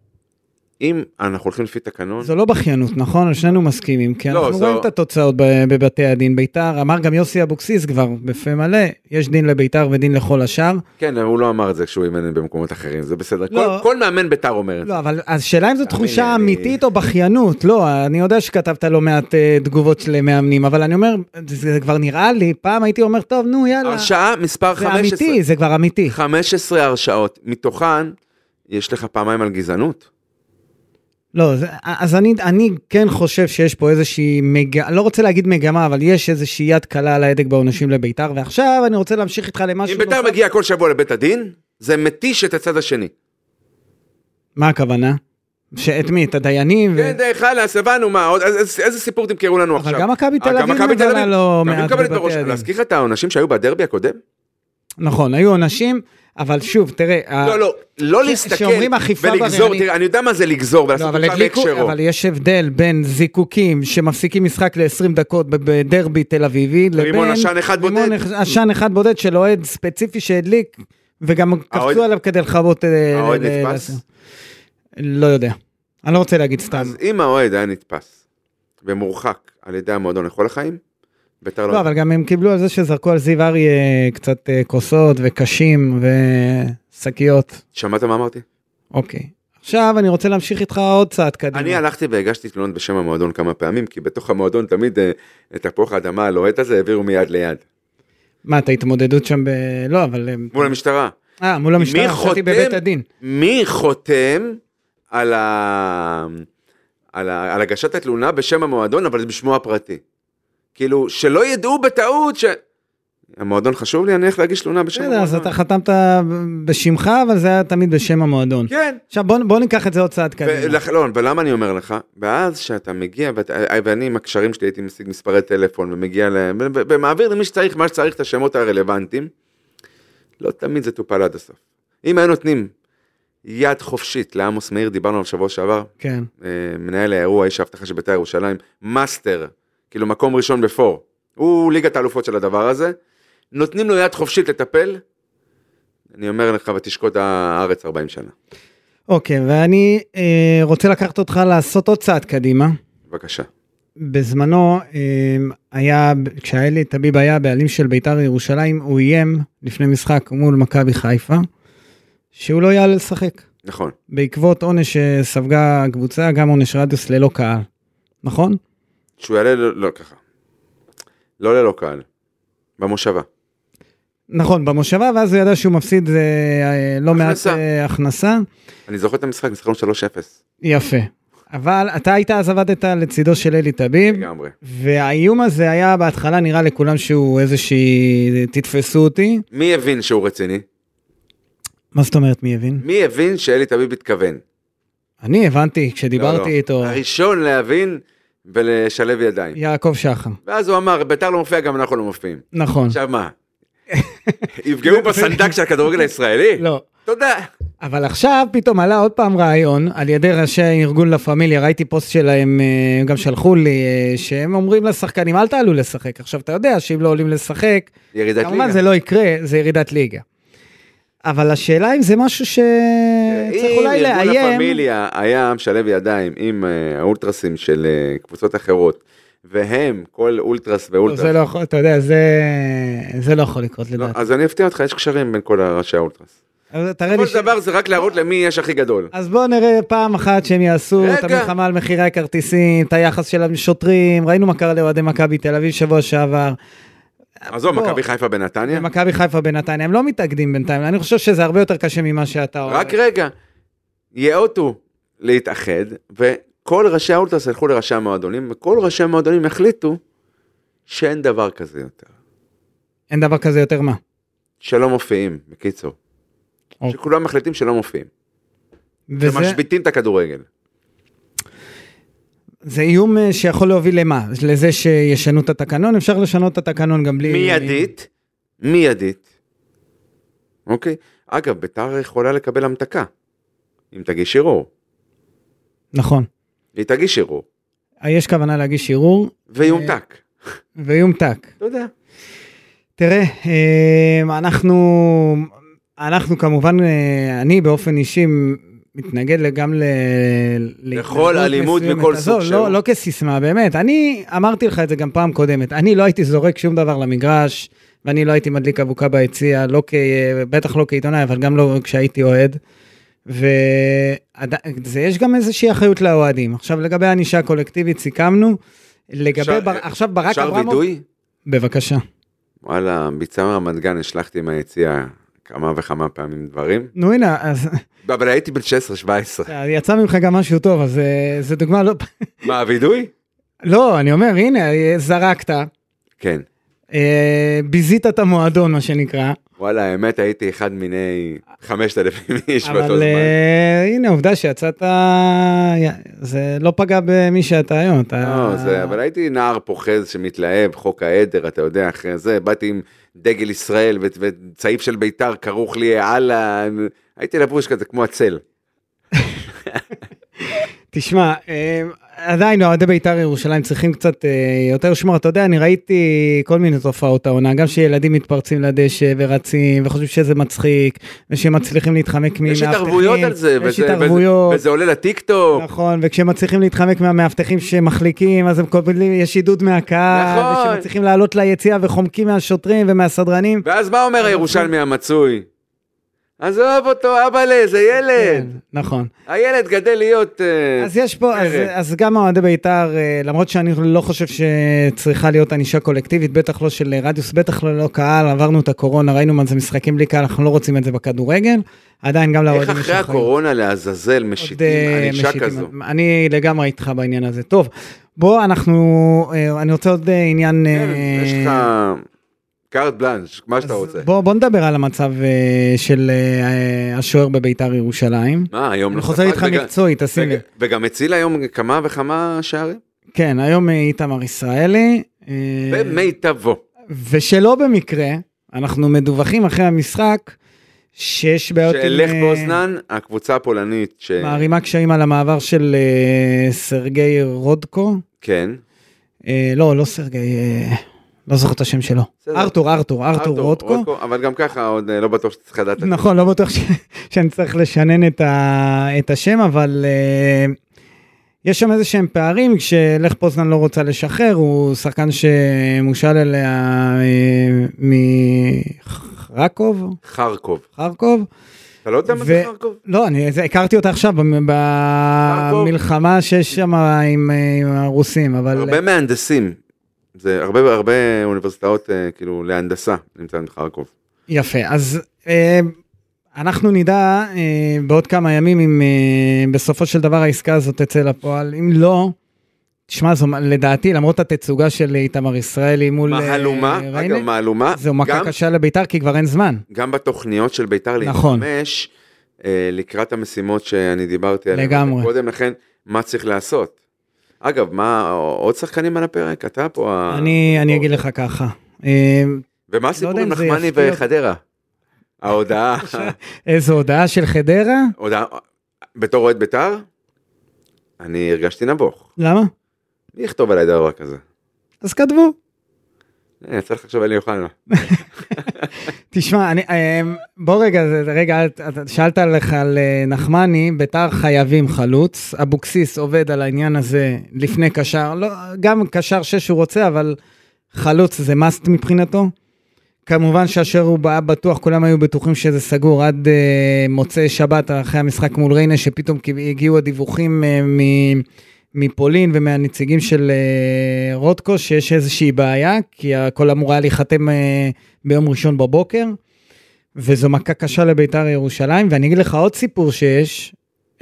[SPEAKER 3] אם אנחנו הולכים לפי תקנון,
[SPEAKER 2] זו לא בכיינות, נכון? שנינו מסכימים, כי
[SPEAKER 3] לא,
[SPEAKER 2] אנחנו
[SPEAKER 3] זו-
[SPEAKER 2] רואים את התוצאות ב- בבתי הדין. ביתר, אמר גם יוסי אבוקסיס כבר, בפה מלא, יש דין לביתר ודין לכל השאר.
[SPEAKER 3] כן, אבל הוא לא אמר את זה כשהוא אימן במקומות אחרים, זה בסדר.
[SPEAKER 2] לא.
[SPEAKER 3] כל- כל מאמן בית"ר אומר את זה.
[SPEAKER 2] לא, אבל השאלה אם זו
[SPEAKER 3] תאמין
[SPEAKER 2] תחושה
[SPEAKER 3] לי, אני-
[SPEAKER 2] אמיתית או בכיינות. לא, אני יודע שכתבת לא מעט אה, תגובות של מאמנים, אבל אני אומר, זה כבר נראה לי, פעם הייתי אומר, טוב, נו, יאללה.
[SPEAKER 3] הרשעה מספר
[SPEAKER 2] זה
[SPEAKER 3] 15.
[SPEAKER 2] אמיתי, זה כבר אמיתי.
[SPEAKER 3] 15 הרשעות, מתוכן יש לך פעמיים על גזענות.
[SPEAKER 2] לא, זה, אז אני, אני כן חושב שיש פה איזושהי מגמה, לא רוצה להגיד מגמה, אבל יש איזושהי יד קלה על ההדק בעונשים לביתר, ועכשיו אני רוצה להמשיך איתך למשהו
[SPEAKER 3] אם בית"ר
[SPEAKER 2] נוסף. כן.
[SPEAKER 3] מגיע כל שבוע לבית הדין, זה מתיש את הצד השני.
[SPEAKER 2] מה הכוונה? שאת מי? את הדיינים?
[SPEAKER 3] כן, די, חלאס, הבנו מה, עוד- אז- אז- איזה סיפור תמכרו לנו
[SPEAKER 2] אבל
[SPEAKER 3] עכשיו.
[SPEAKER 2] גם מכבי
[SPEAKER 3] אה,
[SPEAKER 2] תל
[SPEAKER 3] גם
[SPEAKER 2] אביב
[SPEAKER 3] מכבי תל
[SPEAKER 2] מבלה
[SPEAKER 3] אביב.
[SPEAKER 2] לא
[SPEAKER 3] גם
[SPEAKER 2] מעט
[SPEAKER 3] מקבלת
[SPEAKER 2] בבתי
[SPEAKER 3] בראש.
[SPEAKER 2] הדין.
[SPEAKER 3] להזכיר לך את העונשים שהיו בדרבי הקודם?
[SPEAKER 2] נכון, היו עונשים, אבל שוב, תראה... ה-
[SPEAKER 3] לא, לא, לא להסתכל
[SPEAKER 2] אה, שאומרים אכיפה
[SPEAKER 3] ולגזור,
[SPEAKER 2] בררנית.
[SPEAKER 3] תראה, אני יודע מה זה לגזור
[SPEAKER 2] לא,
[SPEAKER 3] ולעשות
[SPEAKER 2] אבל,
[SPEAKER 3] אותך
[SPEAKER 2] הדליקו,
[SPEAKER 3] בהקשרו.
[SPEAKER 2] אבל יש הבדל בין זיקוקים שמפסיקים משחק ל-20 דקות ב- בדרבי תל אביבי, לבין...
[SPEAKER 3] רימון עשן אחד בודד.
[SPEAKER 2] רימון עשן אחד בודד של אוהד ספציפי שהדליק, וגם
[SPEAKER 3] האוהד-
[SPEAKER 2] קפצו עליו כדי לכבות... אה,
[SPEAKER 3] האוהד
[SPEAKER 2] ל- ל-
[SPEAKER 3] נתפס?
[SPEAKER 2] לא יודע. אני לא רוצה להגיד סתם.
[SPEAKER 3] אז אם האוהד היה נתפס ומורחק על ידי המועדון לכל החיים, ביתר
[SPEAKER 2] לא,
[SPEAKER 3] לא...
[SPEAKER 2] אבל גם הם קיבלו על זה שזרקו על זיו אריה קצת אה, כוסות וקשים ושקיות.
[SPEAKER 3] שמעת מה אמרתי?
[SPEAKER 2] אוקיי. עכשיו אני רוצה להמשיך איתך עוד צעד קדימה.
[SPEAKER 3] אני הלכתי והגשתי תלונות בשם המועדון כמה פעמים, כי בתוך המועדון תמיד אה, את תפוח האדמה הלוהט הזה העבירו מיד ליד.
[SPEAKER 2] מה, את ההתמודדות שם ב... לא, אבל... אה,
[SPEAKER 3] מול המשטרה.
[SPEAKER 2] אה, מול המשטרה,
[SPEAKER 3] מי
[SPEAKER 2] חשבתי
[SPEAKER 3] חותם?
[SPEAKER 2] בבית הדין.
[SPEAKER 3] מי חותם על, ה... על, ה... על הגשת התלונה בשם המועדון, אבל בשמו הפרטי? כאילו, שלא ידעו בטעות ש... המועדון חשוב לי, אני הולך להגיש תלונה בשם
[SPEAKER 2] בסדר,
[SPEAKER 3] המועדון.
[SPEAKER 2] אז אתה חתמת בשמך, אבל זה היה תמיד בשם המועדון.
[SPEAKER 3] כן.
[SPEAKER 2] עכשיו בוא בוא ניקח את זה עוד צעד קדימה.
[SPEAKER 3] ולכ... לא, ולמה אני אומר לך? ואז שאתה מגיע, ואת... אה, ואני עם הקשרים שלי הייתי משיג מספרי טלפון ומגיע להם, ו- ו- ומעביר למי שצריך, מה שצריך, את השמות הרלוונטיים, לא תמיד זה טופל עד הסוף. אם היו נותנים יד חופשית לעמוס מאיר, דיברנו עליו שבוע שעבר,
[SPEAKER 2] כן.
[SPEAKER 3] אה, מנהל האירוע, איש האבטחה של בית"ר ירושלים, מאסטר, כאילו מקום ראשון בפור, הוא ליגת האלופות של הדבר הזה, נותנים לו יד חופשית לטפל, אני אומר לך, ותשקוט הארץ 40 שנה.
[SPEAKER 2] אוקיי, ואני אה, רוצה לקחת אותך לעשות עוד צעד קדימה.
[SPEAKER 3] בבקשה.
[SPEAKER 2] בזמנו אה, היה, כשהאלי טביב היה הבעלים של בית"ר ירושלים, הוא איים לפני משחק מול מכבי חיפה, שהוא לא יעלה לשחק.
[SPEAKER 3] נכון.
[SPEAKER 2] בעקבות עונש שספגה הקבוצה, גם עונש רדיוס ללא קהל. נכון?
[SPEAKER 3] שהוא יעלה, ל- לא ככה. לא ללא קהל. במושבה.
[SPEAKER 2] נכון, במושבה, ואז הוא ידע שהוא מפסיד אה, אה, לא מעט
[SPEAKER 3] הכנסה.
[SPEAKER 2] אה, הכנסה.
[SPEAKER 3] אני זוכר את המשחק, משחקנו 3-0.
[SPEAKER 2] יפה. אבל אתה היית אז עבדת לצידו של אלי טביב,
[SPEAKER 3] לגמרי.
[SPEAKER 2] והאיום הזה היה בהתחלה נראה לכולם שהוא איזושהי תתפסו אותי.
[SPEAKER 3] מי הבין שהוא רציני?
[SPEAKER 2] מה זאת אומרת מי הבין?
[SPEAKER 3] מי הבין שאלי תביב התכוון?
[SPEAKER 2] אני הבנתי
[SPEAKER 3] לא,
[SPEAKER 2] כשדיברתי
[SPEAKER 3] לא.
[SPEAKER 2] איתו,
[SPEAKER 3] הראשון להבין ולשלב ידיים.
[SPEAKER 2] יעקב שחם.
[SPEAKER 3] ואז הוא אמר, ביתר לא מופיע, גם אנחנו לא מופיעים.
[SPEAKER 2] נכון.
[SPEAKER 3] עכשיו מה? יפגעו בסנדק של הכדורגל הישראלי?
[SPEAKER 2] לא.
[SPEAKER 3] תודה.
[SPEAKER 2] אבל עכשיו פתאום עלה עוד פעם רעיון על ידי ראשי ארגון לה פמיליה, ראיתי פוסט שלהם, אה, הם גם שלחו לי, אה, שהם אומרים לשחקנים אל תעלו לשחק. עכשיו אתה יודע שאם לא עולים לשחק,
[SPEAKER 3] ירידת
[SPEAKER 2] כמובן
[SPEAKER 3] ליגה.
[SPEAKER 2] זה לא יקרה, זה ירידת ליגה. אבל השאלה אם זה משהו שצריך אה, אולי
[SPEAKER 3] אה, אם ארגון לה
[SPEAKER 2] לאיים,
[SPEAKER 3] פמיליה היה משלב ידיים עם אה, האולטרסים של אה, קבוצות אחרות, והם, כל אולטרס
[SPEAKER 2] לא,
[SPEAKER 3] ואולטרס,
[SPEAKER 2] זה לא יכול, אתה יודע, זה, זה לא יכול לקרות
[SPEAKER 3] לא,
[SPEAKER 2] לדעתי.
[SPEAKER 3] אז אני אפתיע אותך, יש קשרים בין כל ראשי האולטרס.
[SPEAKER 2] אז תראה לי
[SPEAKER 3] כל
[SPEAKER 2] ש...
[SPEAKER 3] דבר זה רק להראות למי יש הכי גדול.
[SPEAKER 2] אז בואו נראה פעם אחת שהם יעשו
[SPEAKER 3] רגע.
[SPEAKER 2] את המלחמה על מחירי הכרטיסים, את היחס של השוטרים, ראינו מה קרה לאוהדי מכבי תל אביב שבוע שעבר,
[SPEAKER 3] עזוב,
[SPEAKER 2] אה, בוא.
[SPEAKER 3] מכבי חיפה בנתניה?
[SPEAKER 2] מכבי חיפה בנתניה, הם לא מתאגדים בינתיים, אני חושב שזה הרבה יותר קשה ממה שאתה אומר.
[SPEAKER 3] רק רגע, ייאותו להתאחד, וכל ראשי האולטרס הלכו לראשי המועדונים, וכל ראשי המועדונים החליטו שאין דבר כזה יותר.
[SPEAKER 2] אין דבר כזה יותר מה.
[SPEAKER 3] שלא מופיעים, בקיצור.
[SPEAKER 2] אוקיי.
[SPEAKER 3] שכולם מחליטים שלא מופיעים.
[SPEAKER 2] וזה
[SPEAKER 3] ומשביתים את הכדורגל.
[SPEAKER 2] זה איום אה, שיכול להוביל למה? לזה שישנו את התקנון? אפשר לשנות את התקנון גם בלי...
[SPEAKER 3] מיידית, מיידית. אוקיי? אגב, ביתר יכולה לקבל המתקה. אם תגיש ערעור.
[SPEAKER 2] נכון. אה,
[SPEAKER 3] היא תגיש ערעור.
[SPEAKER 2] יש כוונה להגיש ערעור
[SPEAKER 3] ויומתק.
[SPEAKER 2] ויומתק.
[SPEAKER 3] אה, אתה יודע.
[SPEAKER 2] תראה, אמ, אה, אנחנו, אנחנו כמובן, אה, אני באופן אישי מתנגד גם ל...
[SPEAKER 3] לכל אלימות
[SPEAKER 2] מסוימת.
[SPEAKER 3] מכל
[SPEAKER 2] עזוב,
[SPEAKER 3] סוג
[SPEAKER 2] לא,
[SPEAKER 3] שהוא.
[SPEAKER 2] לא כסיסמה, באמת. אני אמרתי לך את זה גם פעם קודמת. אני לא הייתי זורק שום דבר למגרש, ואני לא הייתי מדליק אבוקה ביציע, לא כ... בטח לא כעיתונאי, אבל גם לא כשהייתי אוהד. ויש גם איזושהי אחריות לאוהדים. עכשיו, לגבי הענישה הקולקטיבית סיכמנו. לגבי...
[SPEAKER 3] אפשר-
[SPEAKER 2] בר... עכשיו, ברק
[SPEAKER 3] אפשר
[SPEAKER 2] אברמוב...
[SPEAKER 3] וידוי?
[SPEAKER 2] בבקשה.
[SPEAKER 3] וואלה, ביצה מרמת גן השלכתי מהיציע כמה וכמה פעמים דברים.
[SPEAKER 2] נו הנה, אז
[SPEAKER 3] אבל הייתי בן 16-17.
[SPEAKER 2] אה, יצא ממך גם משהו טוב, אז אה, זו דוגמה לא...
[SPEAKER 3] מה, הווידוי?
[SPEAKER 2] לא, אני אומר, הנה, אה, זרקת,
[SPEAKER 3] כן.
[SPEAKER 2] אה, ביזית את המועדון, מה שנקרא,
[SPEAKER 3] וואלה, האמת, הייתי אחד מיני 5,000 איש באותו
[SPEAKER 2] אבל
[SPEAKER 3] זמן.
[SPEAKER 2] אה, הנה, עובדה שיצאת, י- זה לא פגע במי שאתה היום, אתה...
[SPEAKER 3] לא, זה, אבל הייתי נער פוחז שמתלהב, חוק העדר, אתה יודע, אחרי זה, באתי עם דגל ישראל ו- וצעיף של בית"ר כרוך לי הלאה, הייתי לבוש כזה כמו הצל.
[SPEAKER 2] תשמע, אה, עדיין אוהדי בית"ר ירושלים צריכים קצת אה, יותר שמור. אתה יודע, אני ראיתי כל מיני תופעות העונה, גם שילדים מתפרצים לדשא ורצים וחושבים שזה מצחיק, ושהם מצליחים להתחמק ממאבטחים.
[SPEAKER 3] יש התערבויות על זה,
[SPEAKER 2] יש
[SPEAKER 3] וזה- וזה-
[SPEAKER 2] התערבויות.
[SPEAKER 3] וזה עולה לטיקטוק.
[SPEAKER 2] נכון, וכשהם מצליחים להתחמק מהמאבטחים שמחליקים, אז הם קובלים, יש עידוד מהקהל,
[SPEAKER 3] נכון.
[SPEAKER 2] וכשהם מצליחים לעלות ליציע וחומקים מהשוטרים ומהסדרנים.
[SPEAKER 3] ואז מה אומר הירושלמי המצוי? עזוב אותו, אבאלה, זה ילד.
[SPEAKER 2] כן, נכון.
[SPEAKER 3] הילד גדל להיות... אה,
[SPEAKER 2] אז יש פה, אז,
[SPEAKER 3] פרק.
[SPEAKER 2] אז גם אוהדי בית"ר, אה, למרות שאני לא חושב שצריכה להיות ענישה קולקטיבית, בטח לא של רדיוס, בטח לא, לא קהל, עברנו את הקורונה, ראינו מה זה משחקים בלי קהל, אנחנו לא רוצים את זה בכדורגל, עדיין גם
[SPEAKER 3] איך
[SPEAKER 2] לאוהדים
[SPEAKER 3] אחרי
[SPEAKER 2] אחריות.
[SPEAKER 3] הקורונה לעזאזל
[SPEAKER 2] עוד, אה,
[SPEAKER 3] משיתים ענישה
[SPEAKER 2] משיתים.
[SPEAKER 3] כזו?
[SPEAKER 2] אני לגמרי איתך בעניין הזה. טוב, בוא אנחנו, אה, אני רוצה עוד אה, עניין... אה,
[SPEAKER 3] כן, יש לך קארט בלאנש, מה שאתה
[SPEAKER 2] אז
[SPEAKER 3] לא רוצה.
[SPEAKER 2] בוא, בוא נדבר על המצב אה, של אה, השוער בביתר ירושלים.
[SPEAKER 3] מה, היום
[SPEAKER 2] אני
[SPEAKER 3] לא
[SPEAKER 2] חוזר
[SPEAKER 3] ספג
[SPEAKER 2] איתך
[SPEAKER 3] וגם-
[SPEAKER 2] מקצועית, תשים לב.
[SPEAKER 3] וג- וגם הציל היום כמה וכמה שערים.
[SPEAKER 2] כן, היום אה, איתמר ישראלי. אה,
[SPEAKER 3] במיטבו.
[SPEAKER 2] ושלא במקרה, אנחנו מדווחים אחרי המשחק שיש בעיות
[SPEAKER 3] שאלך
[SPEAKER 2] אה,
[SPEAKER 3] באוזנן, הקבוצה הפולנית ש...
[SPEAKER 2] מערימה קשיים על המעבר של אה, סרגי רודקו.
[SPEAKER 3] כן.
[SPEAKER 2] אה, לא, לא סרגי, אה, לא זוכר את השם שלו.
[SPEAKER 3] בסדר.
[SPEAKER 2] ארתור, ארתור, ארתור רודקו.
[SPEAKER 3] אבל גם ככה עוד אה, לא בטוח שצריך לדעת. את זה.
[SPEAKER 2] נכון, לא בטוח ש... שאני צריך לשנן את, ה... את השם, אבל אה, יש שם איזה שהם פערים, כשלך פוזנן לא רוצה לשחרר, הוא שחקן שמושל אליה אה, מחרקוב,
[SPEAKER 3] חרקוב.
[SPEAKER 2] חרקוב.
[SPEAKER 3] אתה לא יודע מה
[SPEAKER 2] ו-
[SPEAKER 3] זה חרקוב?
[SPEAKER 2] לא, אני זה, הכרתי אותה עכשיו במ- במלחמה שיש שם עם, אה, עם הרוסים, אבל...
[SPEAKER 3] הרבה מהנדסים. זה הרבה הרבה אוניברסיטאות אה, כאילו להנדסה נמצאים בחרקוב.
[SPEAKER 2] יפה, אז אה, אנחנו נדע אה, בעוד כמה ימים אם אה, בסופו של דבר העסקה הזאת תצא לפועל. אם לא, תשמע, זו, לדעתי, למרות התצוגה של איתמר ישראלי מול... אה,
[SPEAKER 3] מהלומה, אגב
[SPEAKER 2] ריינה,
[SPEAKER 3] מהלומה,
[SPEAKER 2] זו מכה
[SPEAKER 3] גם-
[SPEAKER 2] קשה לביתר כי כבר אין זמן.
[SPEAKER 3] גם בתוכניות של ביתר
[SPEAKER 2] נכון.
[SPEAKER 3] להתממש אה, לקראת המשימות שאני דיברתי עליהן
[SPEAKER 2] לגמרי.
[SPEAKER 3] קודם לכן, מה צריך לעשות. אגב, מה עוד שחקנים על הפרק? אתה פה ה...
[SPEAKER 2] אני, אני
[SPEAKER 3] פה.
[SPEAKER 2] אגיד לך ככה. אה,
[SPEAKER 3] ומה
[SPEAKER 2] לא
[SPEAKER 3] הסיפור
[SPEAKER 2] יודע
[SPEAKER 3] עם
[SPEAKER 2] אם זה
[SPEAKER 3] נחמני
[SPEAKER 2] יפתיע אותי.
[SPEAKER 3] וחדרה? ההודעה,
[SPEAKER 2] איזו הודעה של חדרה?
[SPEAKER 3] הודעה, בתור אוהד ביתר, אני הרגשתי נבוך.
[SPEAKER 2] למה?
[SPEAKER 3] מי יכתוב עליי דבר כזה?
[SPEAKER 2] אז כתבו.
[SPEAKER 3] אה, יצא לך עכשיו אלי אוחנה.
[SPEAKER 2] תשמע, אני, אמ, בוא רגע, זה- רגע, את- את- שאלת לך על אה, נחמני, ביתר חייבים חלוץ, אבוקסיס עובד על העניין הזה לפני קשר, לא, גם קשר שש הוא רוצה, אבל חלוץ זה must מבחינתו. כמובן שהשוער הוא בא בטוח, כולם היו בטוחים שזה סגור עד אה, מוצאי שבת אחרי המשחק מול ריינה, שפתאום כי- הגיעו הדיווחים אה, מ- מפולין ומהנציגים של אה, רודקו, שיש איזושהי בעיה, כי הכל אמור היה להיחתם אה, ביום ראשון בבוקר, וזו מכה קשה לביתר ירושלים, ואני אגיד לך עוד סיפור שיש,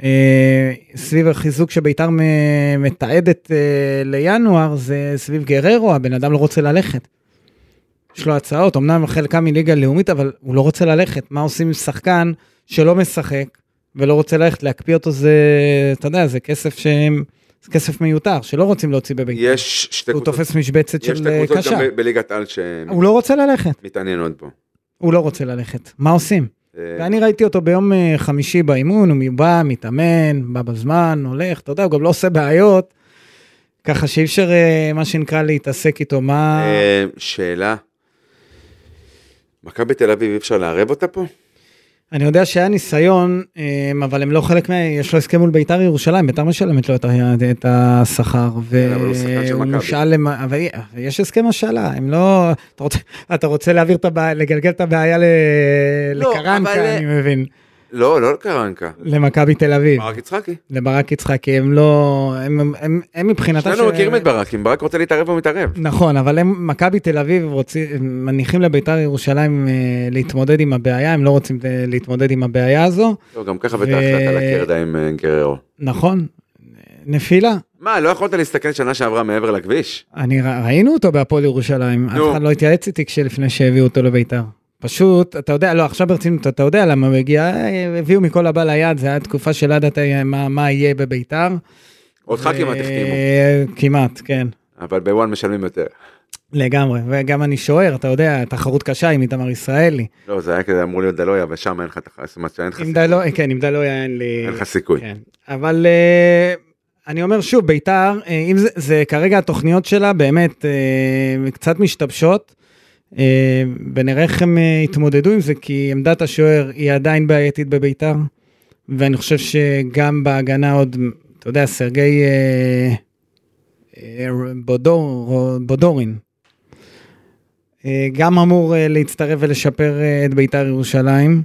[SPEAKER 2] אה, סביב החיזוק שביתר מ- מתעדת אה, לינואר, זה סביב גררו, הבן אדם לא רוצה ללכת. יש לו הצעות, אמנם חלקם מליגה לאומית, אבל הוא לא רוצה ללכת. מה עושים עם שחקן שלא משחק ולא רוצה ללכת? להקפיא אותו זה, אתה יודע, זה כסף שהם, זה כסף מיותר, שלא רוצים להוציא בביתר.
[SPEAKER 3] יש שתי
[SPEAKER 2] הוא
[SPEAKER 3] קבוצות,
[SPEAKER 2] תופס משבצת
[SPEAKER 3] יש
[SPEAKER 2] של
[SPEAKER 3] שתי
[SPEAKER 2] אה,
[SPEAKER 3] קבוצות
[SPEAKER 2] קשה.
[SPEAKER 3] גם ב- בליגת על
[SPEAKER 2] הוא לא רוצה ללכת.
[SPEAKER 3] שמתעניינות בו.
[SPEAKER 2] הוא לא רוצה ללכת, מה עושים?
[SPEAKER 3] אה,
[SPEAKER 2] ואני ראיתי אותו ביום אה, חמישי באימון, הוא בא, מתאמן, בא בזמן, הולך, אתה יודע, הוא גם לא עושה בעיות, ככה שאי אפשר, אה, מה שנקרא, להתעסק איתו, מה...
[SPEAKER 3] אה, שאלה. מכבי תל אביב אי אפשר לערב אותה פה?
[SPEAKER 2] אני יודע שהיה ניסיון, אמ, אבל הם לא חלק מה... יש לו הסכם מול ביתר ירושלים, ביתר משלמת לו את ה- את השכר,
[SPEAKER 3] כן, אבל הוא שחקן של
[SPEAKER 2] והוא
[SPEAKER 3] מכבי.
[SPEAKER 2] מושאל למה... אבל אי- אבל יש הסכם השאלה, הם לא... אתה רוצה, אתה רוצה להעביר את הבעיה, לגלגל את הבעיה ל...
[SPEAKER 3] לא,
[SPEAKER 2] לקרנקה,
[SPEAKER 3] אבל-
[SPEAKER 2] אני מבין,
[SPEAKER 3] לא, לא לקרנקה.
[SPEAKER 2] למכבי תל אביב,
[SPEAKER 3] ברק יצחקי.
[SPEAKER 2] לברק יצחקי, הם לא... הם- הם- הם- הם מבחינתם...
[SPEAKER 3] שנינו
[SPEAKER 2] ש-
[SPEAKER 3] מכירים את ברק, אם ברק רוצה להתערב הוא מתערב.
[SPEAKER 2] נכון, אבל הם, מכבי תל אביב רוצים, הם מניחים לביתר ירושלים אה, להתמודד עם הבעיה, הם לא רוצים אה, להתמודד עם הבעיה הזו,
[SPEAKER 3] לא, גם ככה
[SPEAKER 2] ו-
[SPEAKER 3] בטח החלטה לקרדה עם אה, גררו.
[SPEAKER 2] נכון? נפילה.
[SPEAKER 3] מה, לא יכולת להסתכל שנה שעברה מעבר לכביש?
[SPEAKER 2] אני ר- ראינו אותו בהפועל ירושלים, אף
[SPEAKER 3] נו.
[SPEAKER 2] אחד לא התייעץ איתי כשלפני שהביאו אותו לביתר. פשוט, אתה יודע, לא, עכשיו ברצינות, אתה יודע למה הוא הגיע, אה, הביאו מכל הבא ליד, זה היה תקופה שלא ידעת אה, מה, מה יהיה בביתר.
[SPEAKER 3] אותך
[SPEAKER 2] ו-
[SPEAKER 3] כמעט החתימו,
[SPEAKER 2] כמעט, כן.
[SPEAKER 3] אבל בוואן משלמים יותר.
[SPEAKER 2] לגמרי, וגם אני שוער, אתה יודע, תחרות קשה עם איתמר ישראלי.
[SPEAKER 3] לא, זה היה כזה אמור להיות דלויה, ושם אין לך תחס, זאת אומרת שאין לך
[SPEAKER 2] עם
[SPEAKER 3] סיכוי.
[SPEAKER 2] דלו, כן, עם דלויה אין לי...
[SPEAKER 3] אין לך סיכוי.
[SPEAKER 2] כן. אבל אה, אני אומר שוב, ביתר, אה, אם זה, זה כרגע התוכניות שלה באמת אה, קצת משתבשות, אה, ונראה איך הם אה, יתמודדו עם זה, כי עמדת השוער היא עדיין בעייתית בביתר, ואני חושב שגם בהגנה עוד, אתה יודע, סרגי אה, אה, בודור, בודורין. אה, גם אמור אה, להצטרף ולשפר אה, את ביתר ירושלים.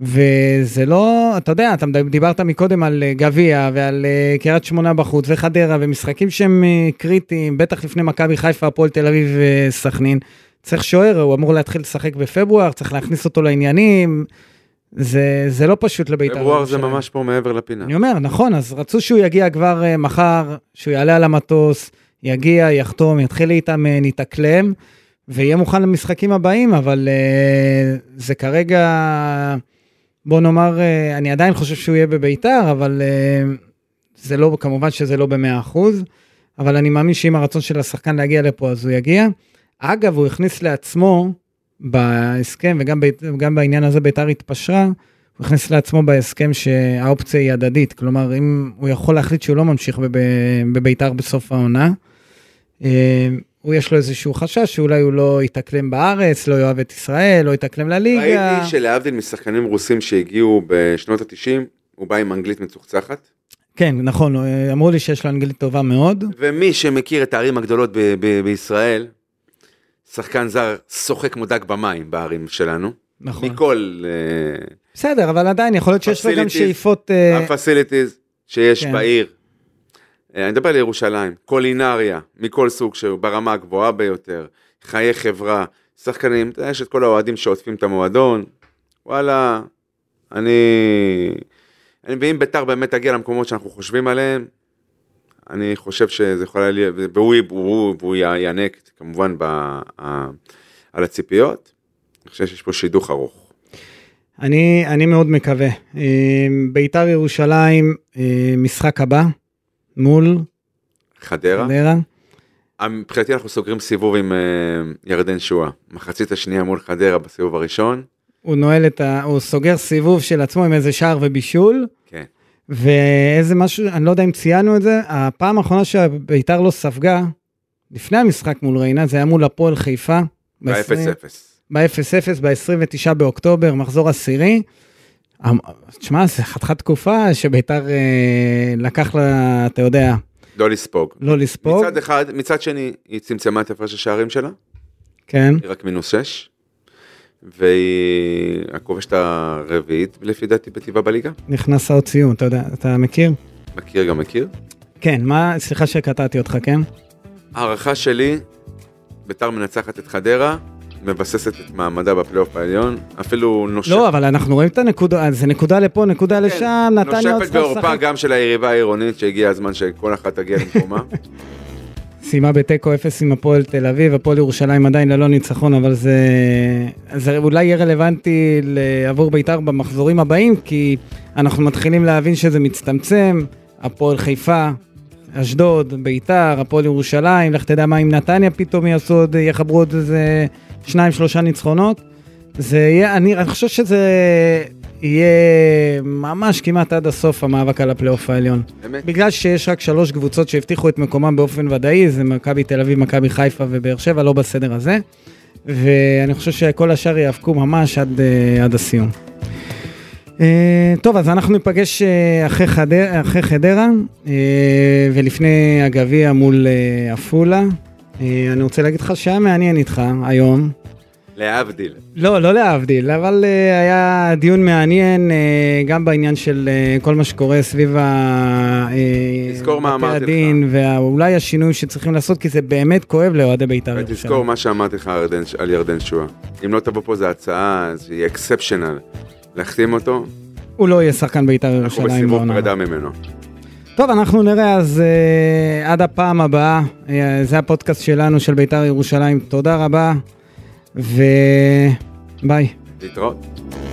[SPEAKER 2] וזה לא, אתה יודע, אתה מדבר- דיברת מקודם על אה, גביע ועל אה, קריית שמונה בחוץ וחדרה ומשחקים שהם אה, קריטיים, בטח לפני מכבי חיפה, הפועל תל אביב וסכנין. צריך שוער, הוא אמור להתחיל לשחק בפברואר, צריך להכניס אותו לעניינים. זה, זה לא פשוט לבית"ר.
[SPEAKER 3] פברואר זה
[SPEAKER 2] ירושלים.
[SPEAKER 3] ממש פה מעבר לפינה.
[SPEAKER 2] אני אומר, נכון, אז רצו שהוא יגיע כבר אה, מחר, שהוא יעלה על המטוס, יגיע, יחתום, יתחיל להתאמן, יתאקלם, ויהיה מוכן למשחקים הבאים, אבל אה, זה כרגע, בוא נאמר, אה, אני עדיין חושב שהוא יהיה בביתר, אבל אה, זה לא, כמובן שזה לא במאה אחוז, אבל אני מאמין שאם הרצון של השחקן להגיע לפה, אז הוא יגיע. אגב, הוא הכניס לעצמו בהסכם, וגם בית- גם בעניין הזה ביתר התפשרה, הוא הכניס לעצמו בהסכם שהאופציה היא הדדית, כלומר אם הוא יכול להחליט שהוא לא ממשיך בב... בביתר בסוף העונה, אה, הוא יש לו איזשהו חשש שאולי הוא לא יתאקלם בארץ, לא יאהב את ישראל, לא יתאקלם לליגה.
[SPEAKER 3] ראיתי שלהבדיל משחקנים רוסים שהגיעו בשנות ה-90, הוא בא עם אנגלית מצוחצחת,
[SPEAKER 2] כן, נכון, אה, אמרו לי שיש לו אנגלית טובה מאוד.
[SPEAKER 3] ומי שמכיר את הערים הגדולות ב- ב- בישראל, שחקן זר שוחק כמו דג במים בערים שלנו,
[SPEAKER 2] נכון.
[SPEAKER 3] מכל אה,
[SPEAKER 2] בסדר, אבל עדיין יכול להיות שיש לו גם
[SPEAKER 3] Facilities.
[SPEAKER 2] שאיפות... אה,
[SPEAKER 3] הפסיליטיז שיש
[SPEAKER 2] כן.
[SPEAKER 3] בעיר. אה, אני מדבר על ירושלים, קולינריה, מכל סוג שהוא, ברמה הגבוהה ביותר, חיי חברה, שחקנים, אתה יודע, יש את כל האוהדים שעוטפים את המועדון, וואלה, אני... אני ואם ביתר באמת תגיע למקומות שאנחנו חושבים עליהם, אני חושב שזה יכול היה להיות, והוא, והוא, והוא יענק כמובן ב, ה, על הציפיות, אני חושב שיש פה שידוך ארוך.
[SPEAKER 2] אני, אני מאוד מקווה. אה, ביתר ירושלים, אה, משחק הבא, מול
[SPEAKER 3] חדרה?
[SPEAKER 2] חדרה.
[SPEAKER 3] אה, מבחינתי אנחנו סוגרים סיבוב עם אה, ירדן שואה. מחצית השנייה מול חדרה בסיבוב הראשון.
[SPEAKER 2] הוא נועל את ה... הוא סוגר סיבוב של עצמו עם איזה שער ובישול,
[SPEAKER 3] כן.
[SPEAKER 2] ואיזה משהו, אני לא יודע אם ציינו את זה, הפעם האחרונה שהביתר לא ספגה, לפני המשחק מול ריינה, זה היה מול הפועל חיפה. ב-
[SPEAKER 3] ב-0-0.
[SPEAKER 2] ב-0-0, ב-29 באוקטובר, מחזור עשירי. אמ- תשמע, זה חתיכת תקופה שביתר אה, לקח לה, אתה יודע,
[SPEAKER 3] לא לספוג.
[SPEAKER 2] לא לספוג.
[SPEAKER 3] מצד אחד, מצד שני, היא צמצמה את הפרש השערים שלה,
[SPEAKER 2] כן.
[SPEAKER 3] היא רק מינוס 6. והיא הכובשת הרביעית, לפי דעתי, בטבעה בליגה.
[SPEAKER 2] נכנס עוד סיום, אתה יודע, אתה מכיר?
[SPEAKER 3] מכיר גם מכיר.
[SPEAKER 2] כן, מה, סליחה שקטעתי אותך, כן?
[SPEAKER 3] הערכה שלי, ביתר מנצחת את חדרה, מבססת את מעמדה בפלייאוף העליון, אפילו נושפת.
[SPEAKER 2] לא, אבל אנחנו רואים את הנקודה, אז זה נקודה לפה, נקודה
[SPEAKER 3] כן,
[SPEAKER 2] לשם, נתניה עוד
[SPEAKER 3] נושפת
[SPEAKER 2] סתם
[SPEAKER 3] בעורפה
[SPEAKER 2] לשחק.
[SPEAKER 3] גם של היריבה העירונית, שהגיע הזמן שכל אחת תגיע למקומה.
[SPEAKER 2] סיימה בתיקו אפס עם הפועל תל אביב, הפועל ירושלים עדיין ללא ניצחון, אבל זה, זה אולי יהיה רלוונטי ל- עבור בית"ר במחזורים הבאים, כי אנחנו מתחילים להבין שזה מצטמצם, הפועל חיפה, אשדוד, בית"ר, הפועל ירושלים, לך תדע מה אם נתניה פתאום יעשו עוד, יחברו עוד איזה שניים, שלושה ניצחונות. זה יהיה, אני, אני חושב שזה יהיה ממש כמעט עד הסוף המאבק על הפלייאוף העליון.
[SPEAKER 3] אמת.
[SPEAKER 2] בגלל שיש רק שלוש קבוצות שהבטיחו את מקומם באופן ודאי, זה מכבי תל אביב, מכבי חיפה ובאר שבע, לא בסדר הזה. ואני חושב שכל השאר ייאבקו ממש עד, אה, עד הסיום. אה, טוב, אז אנחנו ניפגש אה, אחרי חדרה, אחרי חדרה אה, ולפני הגביע מול אה, עפולה. אה, אני רוצה להגיד לך שהיה מעניין איתך היום.
[SPEAKER 3] להבדיל.
[SPEAKER 2] לא, לא להבדיל, אבל אה, היה דיון מעניין אה, גם בעניין של אה, כל מה שקורה סביב ה... אה,
[SPEAKER 3] תזכור מה
[SPEAKER 2] בתי
[SPEAKER 3] אמרתי
[SPEAKER 2] הדין, ואולי השינוי שצריכים לעשות, כי זה באמת כואב לאוהדי בית"ר ירושלים.
[SPEAKER 3] תזכור מה שאמרתי לך ירדן- על ירדן שואה. אם לא תבוא פה זו הצעה, אז היא אקספשנל. להחתים אותו,
[SPEAKER 2] הוא לא יהיה שחקן בית"ר
[SPEAKER 3] אנחנו
[SPEAKER 2] ירושלים
[SPEAKER 3] בסיבוב
[SPEAKER 2] בעונה.
[SPEAKER 3] פרידה ממנו.
[SPEAKER 2] טוב, אנחנו נראה אז אה, עד הפעם הבאה. אה, זה הפודקאסט שלנו של בית"ר ירושלים. תודה רבה, וביי.
[SPEAKER 3] להתראות.